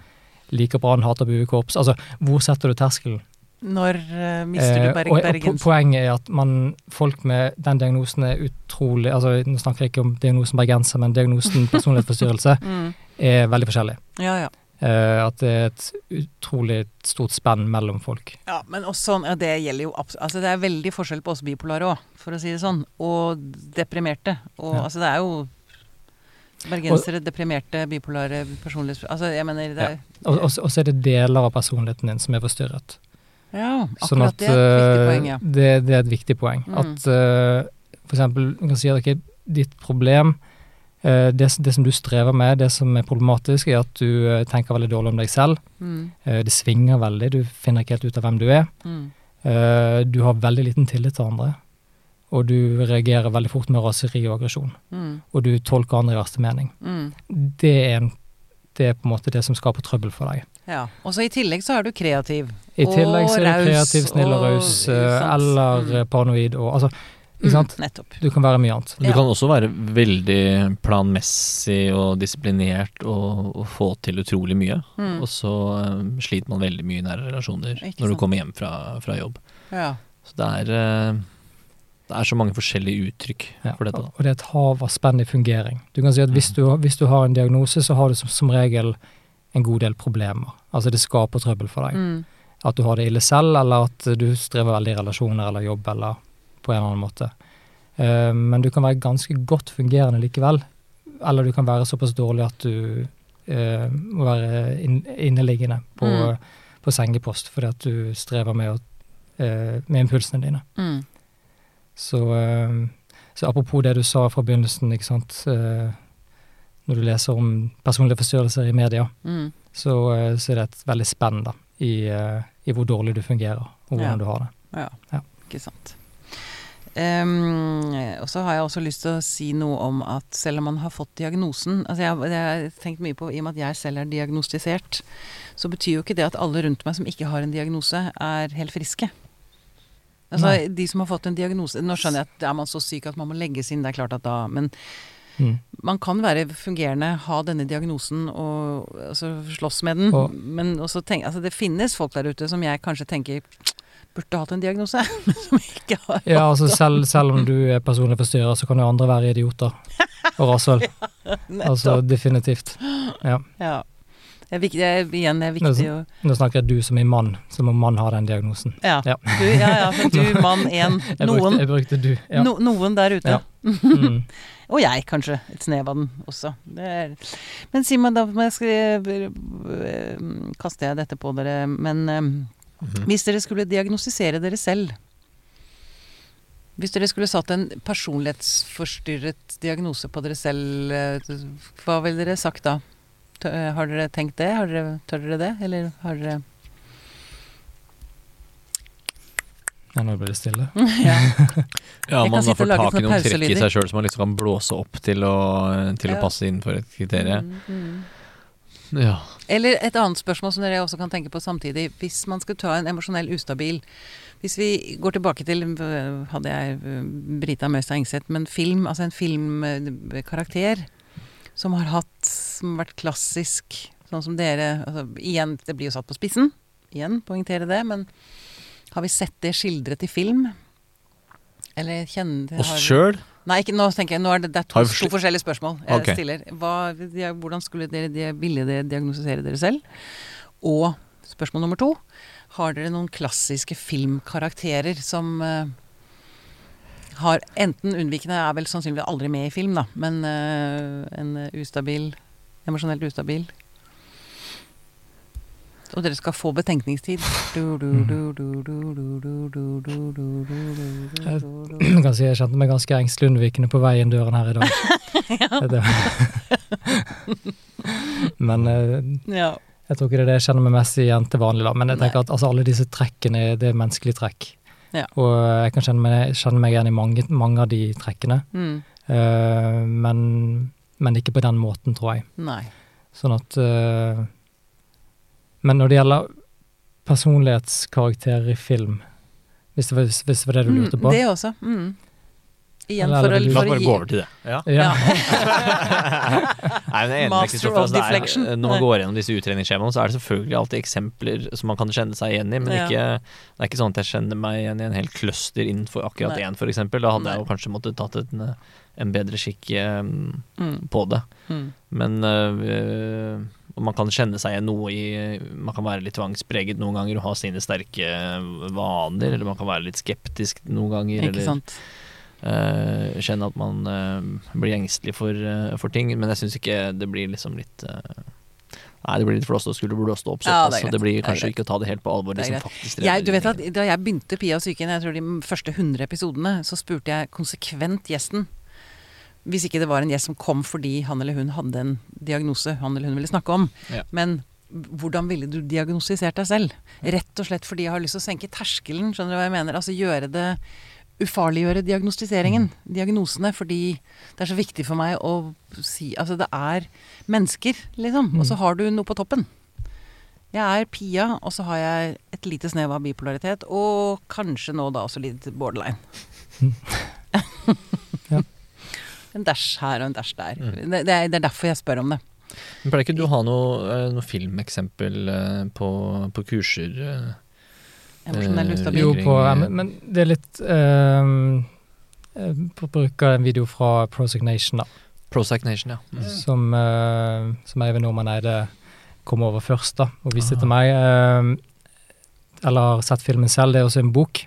C: liker Brann, hater buekorps Altså, hvor setter du terskelen?
A: Når eh, mister du
C: Eh,
A: berg
C: og, og po-
A: bergensen?
C: poenget er at man, folk med den diagnosen er utrolig Altså, nå snakker jeg ikke om diagnosen bergenser, men diagnosen personlighetsforstyrrelse
A: Mm.
C: er veldig forskjellig.
A: Ja, ja.
C: Eh, at det er et utrolig stort spenn mellom folk.
A: ja. Men også sånn, ja, det gjelder jo absolutt Altså, det er veldig forskjell på oss bipolare òg, for å si det sånn. Og deprimerte. Og
C: Ja.
A: altså, det er jo Bergensere, deprimerte, bipolare, personlighets... Altså, jeg mener det er
C: Og, og, så- og så er det deler av personligheten din som er forstyrret.
A: Ja,
C: Sånn
A: akkurat
C: at
A: det er et viktig
C: eh,
A: poeng, ja.
C: det, det er et viktig poeng.
A: Mm.
C: At eh, for eksempel, du kan si at ok, ditt problem, eh, det, s- det som du strever med, det som er problematisk, er at du eh, tenker veldig dårlig om deg selv.
A: Mm.
C: Eh, det svinger veldig, du finner ikke helt ut av hvem du er.
A: Mm.
C: Eh, du har veldig liten tillit til andre. Og du reagerer veldig fort med raseri og aggresjon.
A: Mm.
C: Og du tolker andre i verste mening.
A: Mm.
C: Det er en det er på en måte det som skaper trøbbel for deg.
A: Ja. Og så i tillegg så er du kreativ.
C: I tillegg så er
A: raus,
C: du kreativ, snill og
A: og-
C: raus, eh,
A: sant.
C: eller eh, paranoid og altså Ikke sant?
A: Mm, nettopp.
C: Du kan være mye annet.
B: Du
A: Ja.
B: kan også være veldig planmessig og disiplinert og, og få til utrolig mye.
A: Mm.
B: Og så eh, sliter man veldig mye i nære relasjoner
A: Ikke
B: når du
A: sant.
B: kommer hjem fra, fra jobb.
A: Ja.
B: Så det er, eh, det er så mange forskjellige uttrykk
C: Ja,
B: for dette. Da.
C: Og det er et Mm. hav av spenn i fungering. Du kan si at hvis du, hvis du har en diagnose, så har du som, som regel en god del problemer. Altså det skaper trøbbel for deg.
A: Mm.
C: At du har det ille selv, eller at du strever veldig i relasjoner eller jobb eller på en eller annen måte. Eh, men du kan være ganske godt fungerende likevel, eller du kan være såpass dårlig at du eh, må være inn- inneliggende på,
A: Mm.
C: på sengepost fordi at du strever med, å, eh, med impulsene dine.
A: Mm.
C: Så, eh, så apropos det du sa fra begynnelsen, ikke sant. eh, Når du leser om personlige forstyrrelser i media,
A: Mm.
C: så, eh, så er det et veldig spenn da, i, eh, i hvor dårlig du fungerer, og hvordan
A: Ja.
C: du har det.
A: Ja,
C: Ja.
A: ikke sant. Ehm, og så har jeg også lyst til å si noe om at selv om man har fått diagnosen altså jeg, jeg har tenkt mye på, I og med at jeg selv er diagnostisert, så betyr jo ikke det at alle rundt meg som ikke har en diagnose, er helt friske. Altså
C: Nei.
A: de som har fått en diagnose Nå skjønner jeg at er man så syk at man må legges inn, det er klart at da Men
C: Mm.
A: man kan være fungerende, ha denne diagnosen og altså, slåss med den.
C: Og-
A: men også tenk, altså, det finnes folk der ute som jeg kanskje tenker burde hatt en diagnose, men som ikke har.
C: Ja, altså selv, selv om du er personlig forstyrrer, så kan jo andre være idioter og rasshøl. Altså definitivt.
A: Ja. Det er viktig, det er, igjen, det er viktig å
C: Nå snakker jeg du som er mann, som om mann har den diagnosen.
A: ja.
C: Ja.
A: Du, ja, ja, men du, mann én,
C: Jeg brukte,
A: noen.
C: jeg brukte du. Ja.
A: No, noen der ute.
C: Ja. Mm.
A: Og jeg, kanskje. Et snev av den også. Det er. Men si meg, da må jeg skri- eh, kaster jeg dette på dere, men eh,
B: Mhm.
A: Hvis dere skulle diagnostisere dere selv Hvis dere skulle satt en personlighetsforstyrret diagnose på dere selv, eh, hva ville dere sagt da? Tø- eh, Har dere tenkt det? Har dere, tør dere det? Eller har dere
C: Ja, nå ble det stille.
A: ja.
B: Ja,
A: Jeg kan
B: man
A: sitte
B: har
A: og
B: fått
A: lage
B: tak i
A: sånne
B: noen trekk i
A: pauselyder.
B: seg sjøl som man liksom kan blåse opp til å, til
A: Ja.
B: å passe innenfor et kriterium.
A: Mm, mm.
B: Ja.
A: Eller et annet spørsmål som dere også kan tenke på samtidig. Hvis man skulle ta en emosjonell ustabil Hvis vi går tilbake til øh, hadde jeg øh, Brita Møystad Engseth, men film, altså en filmkarakter som har hatt som har vært klassisk, sånn som dere altså, Igjen, det blir jo satt på spissen. Igjen, poengtere det. Men har vi sett det skildret i film? Eller kjenner
B: Oss sjøl
A: Nei, ikke, nå tenker jeg, nå er det, det er to,
B: Har vi forsl-
A: to forskjellige spørsmål jeg
B: Ok.
A: stiller. Hva, dia- hvordan skulle dere, dia- ville dere diagnostisere dere selv? Og spørsmål nummer to Har dere noen klassiske filmkarakterer som eh, har enten unnvikende Er vel sannsynligvis aldri med i film, da, men eh, en eh, ustabil Emosjonelt ustabil. Og dere skal få betenkningstid. Du, du, du, du, du, du, du, du, du, du, du, du,
C: Jeg-
A: du, du.
C: Jeg kan si jeg kjente meg ganske engstelig unnvikende på vei inn døren her i dag. Det- Men eh,
A: Ja.
C: jeg tror ikke det er det jeg kjenner meg mest igjen til vanlig, da. Men jeg tenker at altså, alle disse trekkene, er- det er menneskelige trekk.
A: Ja.
C: Og jeg kan kjenne meg, kjenne meg igjen i mange, mange av de trekkene.
A: Mm.
C: Eh, men, men ikke på den måten, tror jeg.
A: Nei.
C: Sånn at eh, Men når det gjelder personlighetskarakterer i film, hvis det var, hvis det, var det du lurte på
A: Mm, det også. Mm. Igjen
C: Eller
A: for å,
C: er det
B: La oss
A: for å
B: bare
A: gi
B: gå over til det. Ja.
A: ja.
B: Nei, men jeg er enig med
A: Master
B: Kristoffer,
A: of
B: altså, det er-
A: deflection.
B: Når man går gjennom disse utredningsskjemaene, så er det selvfølgelig alltid eksempler som man kan kjenne seg igjen i, men
A: Ja.
B: ikke, det er ikke sånn at jeg kjenner meg igjen i en hel cluster innenfor akkurat
A: Nei.
B: én, f.eks. Da hadde
A: Nei.
B: jeg jo kanskje måttet tatt en, eh, en bedre skikk eh,
A: Mm,
B: på det.
A: mm,
B: Men eh, og man kan kjenne seg igjen noe i Man kan være litt tvangspreget noen ganger og ha sine sterke eh, vaner, eller man kan være litt skeptisk noen ganger.
A: ikke
B: eller,
A: sant.
B: Eh, kjenne at man eh, blir engstelig for, eh, for ting, men jeg syns ikke det blir liksom litt eh, Nei, det blir litt flåst å skulle blåst opp
A: Ja, det er
B: såpass, så
A: greit.
B: det blir
A: Det er
B: kanskje
A: greit.
B: ikke å ta det helt på alvor.
A: Det
B: Det
A: er
B: som faktisk
A: Jeg, du vet
B: dreper
A: at Da jeg begynte Pia og psyken, jeg tror de første 100 episodene, så spurte jeg konsekvent gjesten. Hvis ikke det var en gjest som kom fordi han eller hun hadde en diagnose han eller hun ville snakke om.
B: Ja.
A: Men hvordan ville du diagnostisert deg selv? Rett og slett fordi jeg har lyst til å senke terskelen. Skjønner du hva jeg mener? Altså gjøre det ufarliggjøre diagnostiseringen, diagnosene, fordi det er så viktig for meg å si Altså, det er mennesker, liksom. Og så
C: Mm.
A: har du noe på toppen. Jeg er Pia, og så har jeg et lite snev av bipolaritet, og kanskje nå da også litt borderline.
C: Mm. Ja.
A: En dæsj her og en dæsj der.
B: Mm.
A: Det, det, er, det er derfor jeg spør om det.
B: Men pleier ikke du å ha noe, eh, noe filmeksempel eh, på, på kurser? eh?
A: Emosjonell
B: Eh,
A: ustabil.
C: Jo,
B: Ring-
C: på, ja, men, men det er litt ehm, eh, Bruker en video fra Prozac Nation, da.
B: Prozac Nation, ja. Mm.
C: som, eh, som Eivind Normann Eide kom over først, da, og viste
B: Ah.
C: til meg. eh, eller har sett filmen selv, det er også en bok.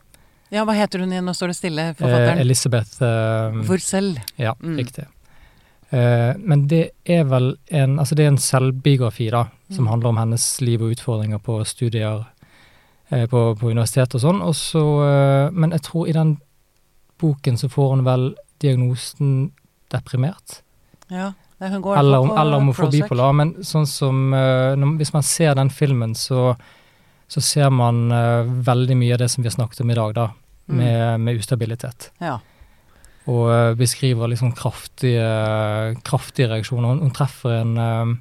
A: Ja, hva heter hun igjen? Nå står det stille,
C: Eh,
A: forfatteren.
C: Elisabeth eh,
A: Hvor selv?
C: Ja,
A: Mm.
C: riktig. Eh, men det er vel en Altså, det er en selvbiografi, da, som
A: Mm.
C: handler om hennes liv og utfordringer på studier eh, på, på universitet og sånn. Og så eh, Men jeg tror i den boken så får hun vel diagnosen deprimert.
A: Ja. Nei, hun går i hvert
C: Eller
A: fall
C: om,
A: på
C: eller om hun får
A: Prozac.
C: bipolar, men sånn som eh, når, Hvis man ser den filmen, så, så ser man eh, veldig mye av det som vi har snakket om i dag, da,
A: Mm.
C: med, med ustabilitet.
A: Ja.
C: Og eh, beskriver liksom kraftige, kraftige reaksjoner. Hun, hun treffer en, eh,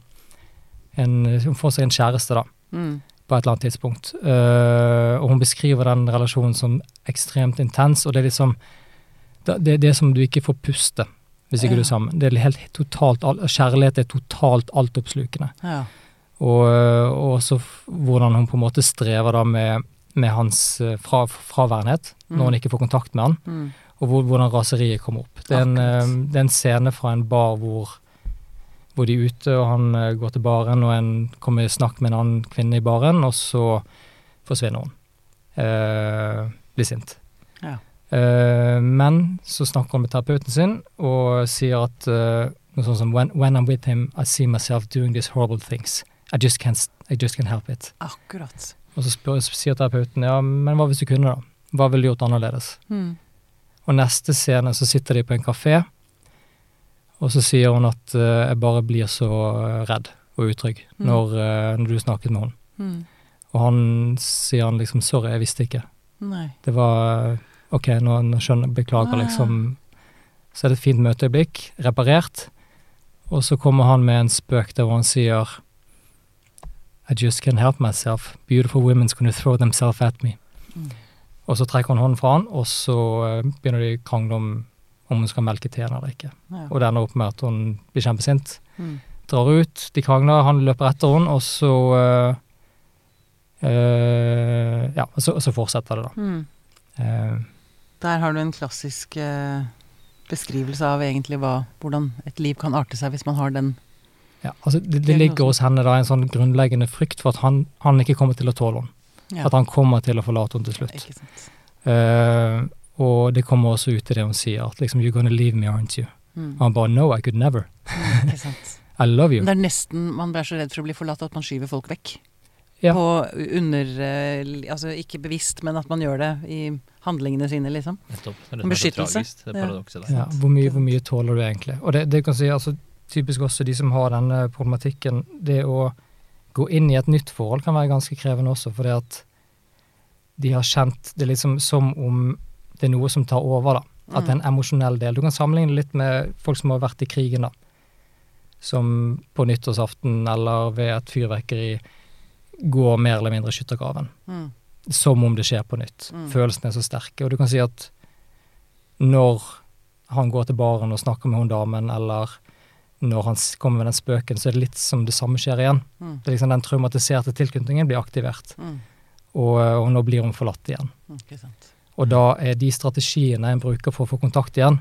C: en Hun får seg en kjæreste, da,
A: Mm.
C: på et eller annet tidspunkt. Eh, og hun beskriver den relasjonen som ekstremt intens, og det er liksom Det, det, det er som du ikke får puste hvis ikke
A: Ja.
C: du er sammen. Det er helt totalt all- Kjærlighet er totalt altoppslukende.
A: Ja.
C: Og, eh, og også f- hvordan hun på en måte strever da med, med hans eh, fra, fraværenhet,
A: Mm.
C: når hun ikke får kontakt med han,
A: Mm.
C: og hvor, hvordan raseriet kommer opp. Det er, en,
A: Akkurat.
C: eh, det er en scene fra en bar hvor, hvor de er ute, og han eh, går til baren, og en kommer i snakk med en annen kvinne i baren, og så forsvinner hun. Eh, blir sint.
A: Ja.
C: Eh, men så snakker hun med terapeuten sin og sier at eh, noe sånt som when, when I'm with him, I see myself doing these horrible things. I just can't, s- I just can't help it.
A: Akkurat.
C: Og så spør, sier terapeuten ja, men hva hvis du kunne, da? Hva ville du gjort annerledes?
A: Mm.
C: Og neste scene så sitter de på en kafé, og så sier hun at eh, jeg bare blir så eh, redd og utrygg
A: Mm.
C: når, eh, når du snakket med henne.
A: Mm.
C: Og han sier han liksom sorry, jeg visste ikke.
A: Nei.
C: Det var eh, OK, nå, nå skjønner jeg, beklager,
A: Ah.
C: liksom. Så er det et fint møteøyeblikk, reparert. Og så kommer han med en spøk der hvor han sier I just can't help myself. Beautiful women's gonna throw themselves at me.
A: Mm.
C: Og så trekker hun hånden fra han, og så eh, begynner de å krangle om om hun skal melke teen eller ikke.
A: Ja.
C: Og det ender opp med at hun blir kjempesint.
A: Mm.
C: Drar ut, de krangler, han løper etter henne, og så eh, eh, Ja, og så, og så fortsetter det, da.
A: Mm.
C: Eh,
A: Der har du en klassisk eh, beskrivelse av egentlig hva, hvordan et liv kan arte seg hvis man har den.
C: Ja, altså det, det ligger hos henne da en sånn grunnleggende frykt for at han, han ikke kommer til å tåle henne.
A: Ja,
C: At han kommer til å forlate henne til slutt.
A: ikke sant.
C: Eh, og det kommer også ut i det hun sier, at liksom You're gonna leave me, aren't you?
A: Mm.
C: Og han bare No, I could never.
A: Mm, ikke sant.
C: I love you.
A: Men Det er nesten man blir så redd for å bli forlatt at man skyver folk vekk.
C: Ja.
A: På under eh, li- Altså ikke bevisst, men at man gjør det i handlingene sine, liksom.
B: Nettopp. Det
A: En
B: er det som er så
A: beskyttelse.
B: tragisk, Det
A: Ja.
B: paradokset der.
C: Ja, hvor, mye, hvor mye tåler du egentlig? Og det, det kan si, altså, typisk også de som har denne problematikken, det å gå inn i et nytt forhold kan være ganske krevende også, fordi at de har kjent det liksom som om det er noe som tar over, da.
A: Mm.
C: At det er en emosjonell del. Du kan sammenligne litt med folk som har vært i krigen, da. Som på nyttårsaften eller ved et fyrverkeri går mer eller mindre i skyttergraven
A: Mm.
C: som om det skjer på nytt.
A: Mm.
C: Følelsene er så sterke. Og du kan si at når han går til baren og snakker med hun damen, eller når han s- kommer med den spøken, så er det litt som det samme skjer igjen.
A: Mm.
C: Det er liksom Den traumatiserte tilknytningen blir aktivert,
A: Mm.
C: og, og nå blir hun forlatt igjen.
A: Mm, Ikke sant.
C: Og da er de strategiene en bruker for å få kontakt igjen,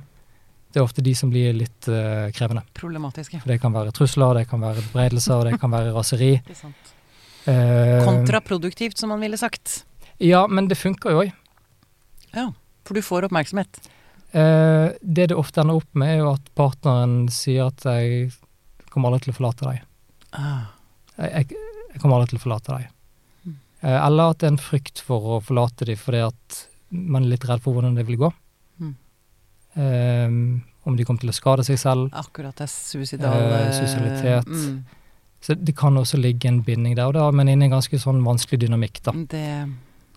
C: det er ofte de som blir litt eh, krevende.
A: Problematisk, ja.
C: For det kan være trusler, det kan være bebreidelser, og det kan være raseri.
A: Ikke sant.
C: Eh,
A: Kontraproduktivt, som man ville sagt.
C: Ja, men det funker jo òg.
A: For du får oppmerksomhet.
C: Eh, det det ofte ender opp med, er jo at partneren sier at jeg kommer aldri til å forlate deg.
A: Ah.
C: Jeg, jeg, jeg kommer aldri til å forlate deg.
A: Mm.
C: Eh, eller at det er en frykt for å forlate dem fordi at man er litt redd for hvordan det vil gå.
A: Mm.
C: Eh, om de kommer til å skade seg selv.
A: Akkurat det er suicidal
C: Eh,
A: eh,
C: suicidalitet.
A: Mm,
C: Så det kan også ligge en binding der, og da er man inne i en ganske sånn vanskelig dynamikk, da.
A: det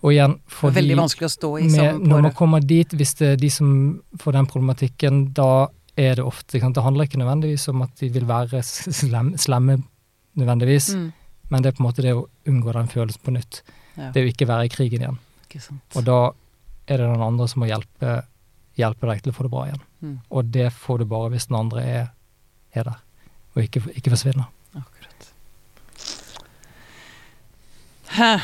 C: Og igjen, fordi
A: Veldig vanskelig å stå i
C: med,
A: som
C: når man
A: pårørende.
C: kommer dit, hvis det er de som får den problematikken, da er det ofte ikke sant? Det handler ikke nødvendigvis om at de vil være slem, slemme, nødvendigvis,
A: Mm,
C: men det er på en måte det å unngå den følelsen på nytt.
A: Ja.
C: Det er jo ikke være i krigen igjen.
A: ikke sant.
C: Og da er det noen andre som må hjelpe, hjelpe deg til å få det bra igjen.
A: Mm.
C: Og det får du bare hvis den andre er, er der, og ikke, ikke forsvinner.
A: Akkurat. Hæ.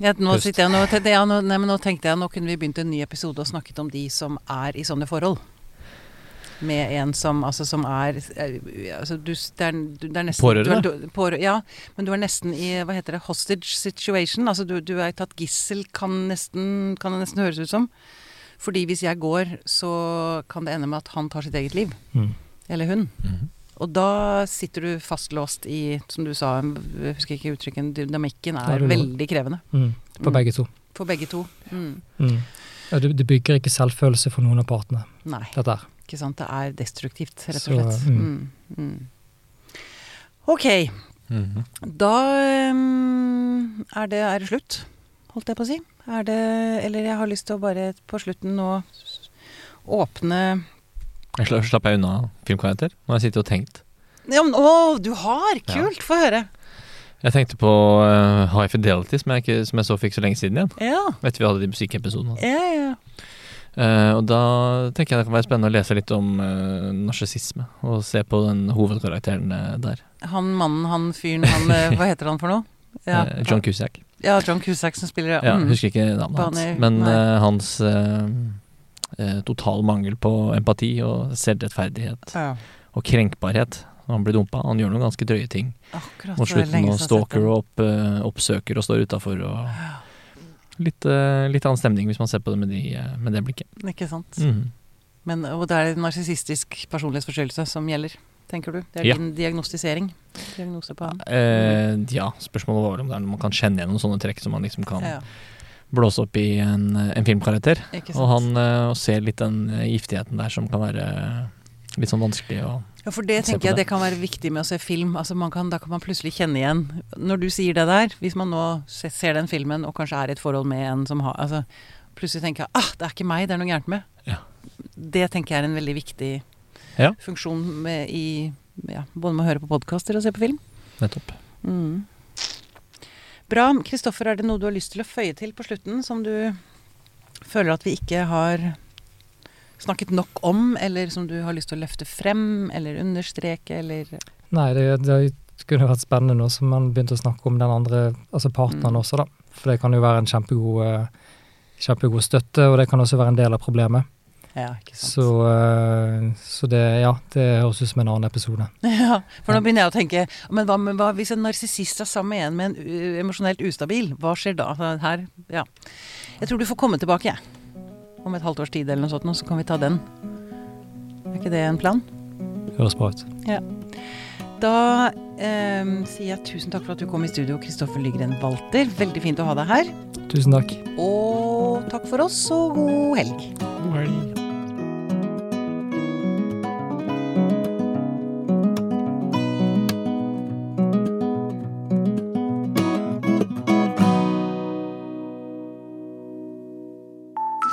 A: Ja, nå,
B: Pust.
A: sitter jeg, nå, tenkte, ja, nå, nei, men nå tenkte jeg nå kunne vi begynt en ny episode og snakket om de som er i sånne forhold. Med en som altså som er eh, altså, du, s- det, er, du, det er nesten
B: Pårørende?
A: Du, er- du, pårø- ja, men du er nesten i hva heter det, hostage situation. Altså du, du er tatt gissel, kan, nesten, kan det nesten høres ut som. Fordi hvis jeg går, så kan det ende med at han tar sitt eget liv.
C: Mm.
A: Eller hun.
B: Mhm.
A: Og da sitter du fastlåst i, som du sa, jeg husker ikke uttrykket, dynamikken
C: Ja,
A: er
C: det er lov.
A: veldig krevende
C: Mm. For
A: Mm.
C: begge to.
A: for begge to. Mm.
C: Mm. Og det, det bygger ikke selvfølelse for noen av partene,
A: Nei,
C: dette her.
A: ikke sant. Det er destruktivt, rett
C: Så,
A: og slett. Mm. Mm. Ok,
B: Mhm.
A: da ehm, er det, er det slutt, holdt jeg på å si. Er det Eller jeg har lyst til å bare på slutten nå s- åpne
B: Jeg sla- slapp jeg unna filmkarakter. Nå har jeg sittet og tenkt.
A: ja, men, Å, du har! Kult! Få høre.
B: Jeg tenkte på eh, High Fidelity, som jeg, ikke, som jeg så fikk så lenge siden igjen.
A: Ja.
B: Etter vi hadde de musikkepisodene.
A: Ja, ja.
B: Eh, og da tenker jeg det kan være spennende å lese litt om uh, narsissisme, og se på den hovedkarakteren eh, der.
A: Han mannen, han fyren, han eh, Hva heter han for noe? Ja.
B: Eh, John Cusack.
A: Ja, John Cusack som spiller ja.
B: Ja,
A: Mm.
B: Husker ikke navnet hans.
A: Barney,
B: Men
A: nei.
B: eh, hans eh, eh, total mangel på empati og selvrettferdighet
A: ja.
B: og krenkbarhet når han blir dumpa. Han gjør noen ganske drøye ting
A: Akkurat. så er
B: mot
A: det
B: slutten
A: lenge siden jeg har
B: og
A: sett
B: stalker
A: den.
B: og opp, eh, oppsøker og står utafor og Litt, eh, litt annen stemning hvis man ser på det med, de, eh, med det blikket.
A: Ikke sant.
B: Mhm.
A: Men, og det er narsissistisk personlighetsforstyrrelse som gjelder, tenker du? Det er
B: Ja.
A: din diagnostisering? Diagnose på han?
B: Eh, ja, spørsmålet var vel om det er noe man kan kjenne igjen noen sånne trekk som man liksom kan
A: Ja,
B: blåse opp i en, en filmkarakter.
A: ikke sant.
B: Og han eh, og ser litt den eh, giftigheten der som kan være litt sånn vanskelig å
A: ja, for det
B: Se på
A: tenker jeg
B: det.
A: det kan være viktig med å se film. Altså man kan, da kan man plutselig kjenne igjen Når du sier det der, hvis man nå se- ser den filmen og kanskje er i et forhold med en som har altså, Plutselig tenker jeg ah, det er ikke meg, det er noe gærent med.
B: Ja.
A: Det tenker jeg er en veldig viktig
B: Ja.
A: funksjon med, i, ja, både med å høre på podkaster og se på film.
B: Nettopp.
A: Mm. Bra. Kristoffer, er det noe du har lyst til å føye til på slutten, som du føler at vi ikke har snakket nok om, eller som du har lyst til å løfte frem, eller understreke, eller
C: Nei, det, det kunne vært spennende nå som man begynte å snakke om den andre, altså partneren
A: Mm.
C: også, da. For det kan jo være en kjempegod, eh, kjempegod støtte, og det kan også være en del av problemet.
A: Ja, ikke sant.
C: Så, eh, så det, ja, det høres ut som en annen episode.
A: Ja, for nå begynner jeg å tenke Men hva, men hva hvis en narsissist er sammen med en med en ø, emosjonelt ustabil? Hva skjer da? Altså, Her, ja. Jeg tror du får komme tilbake, jeg. Om et halvt års tid eller noe sånt, nå, så kan vi ta den. Er ikke det en plan?
C: Høres bra ut.
A: Da ehm, sier jeg tusen takk for at du kom i studio, Kristoffer Lygren Walter. Veldig fint å ha deg her.
C: Tusen takk.
A: Og takk for oss, og god helg.
B: God helg.
D: Denne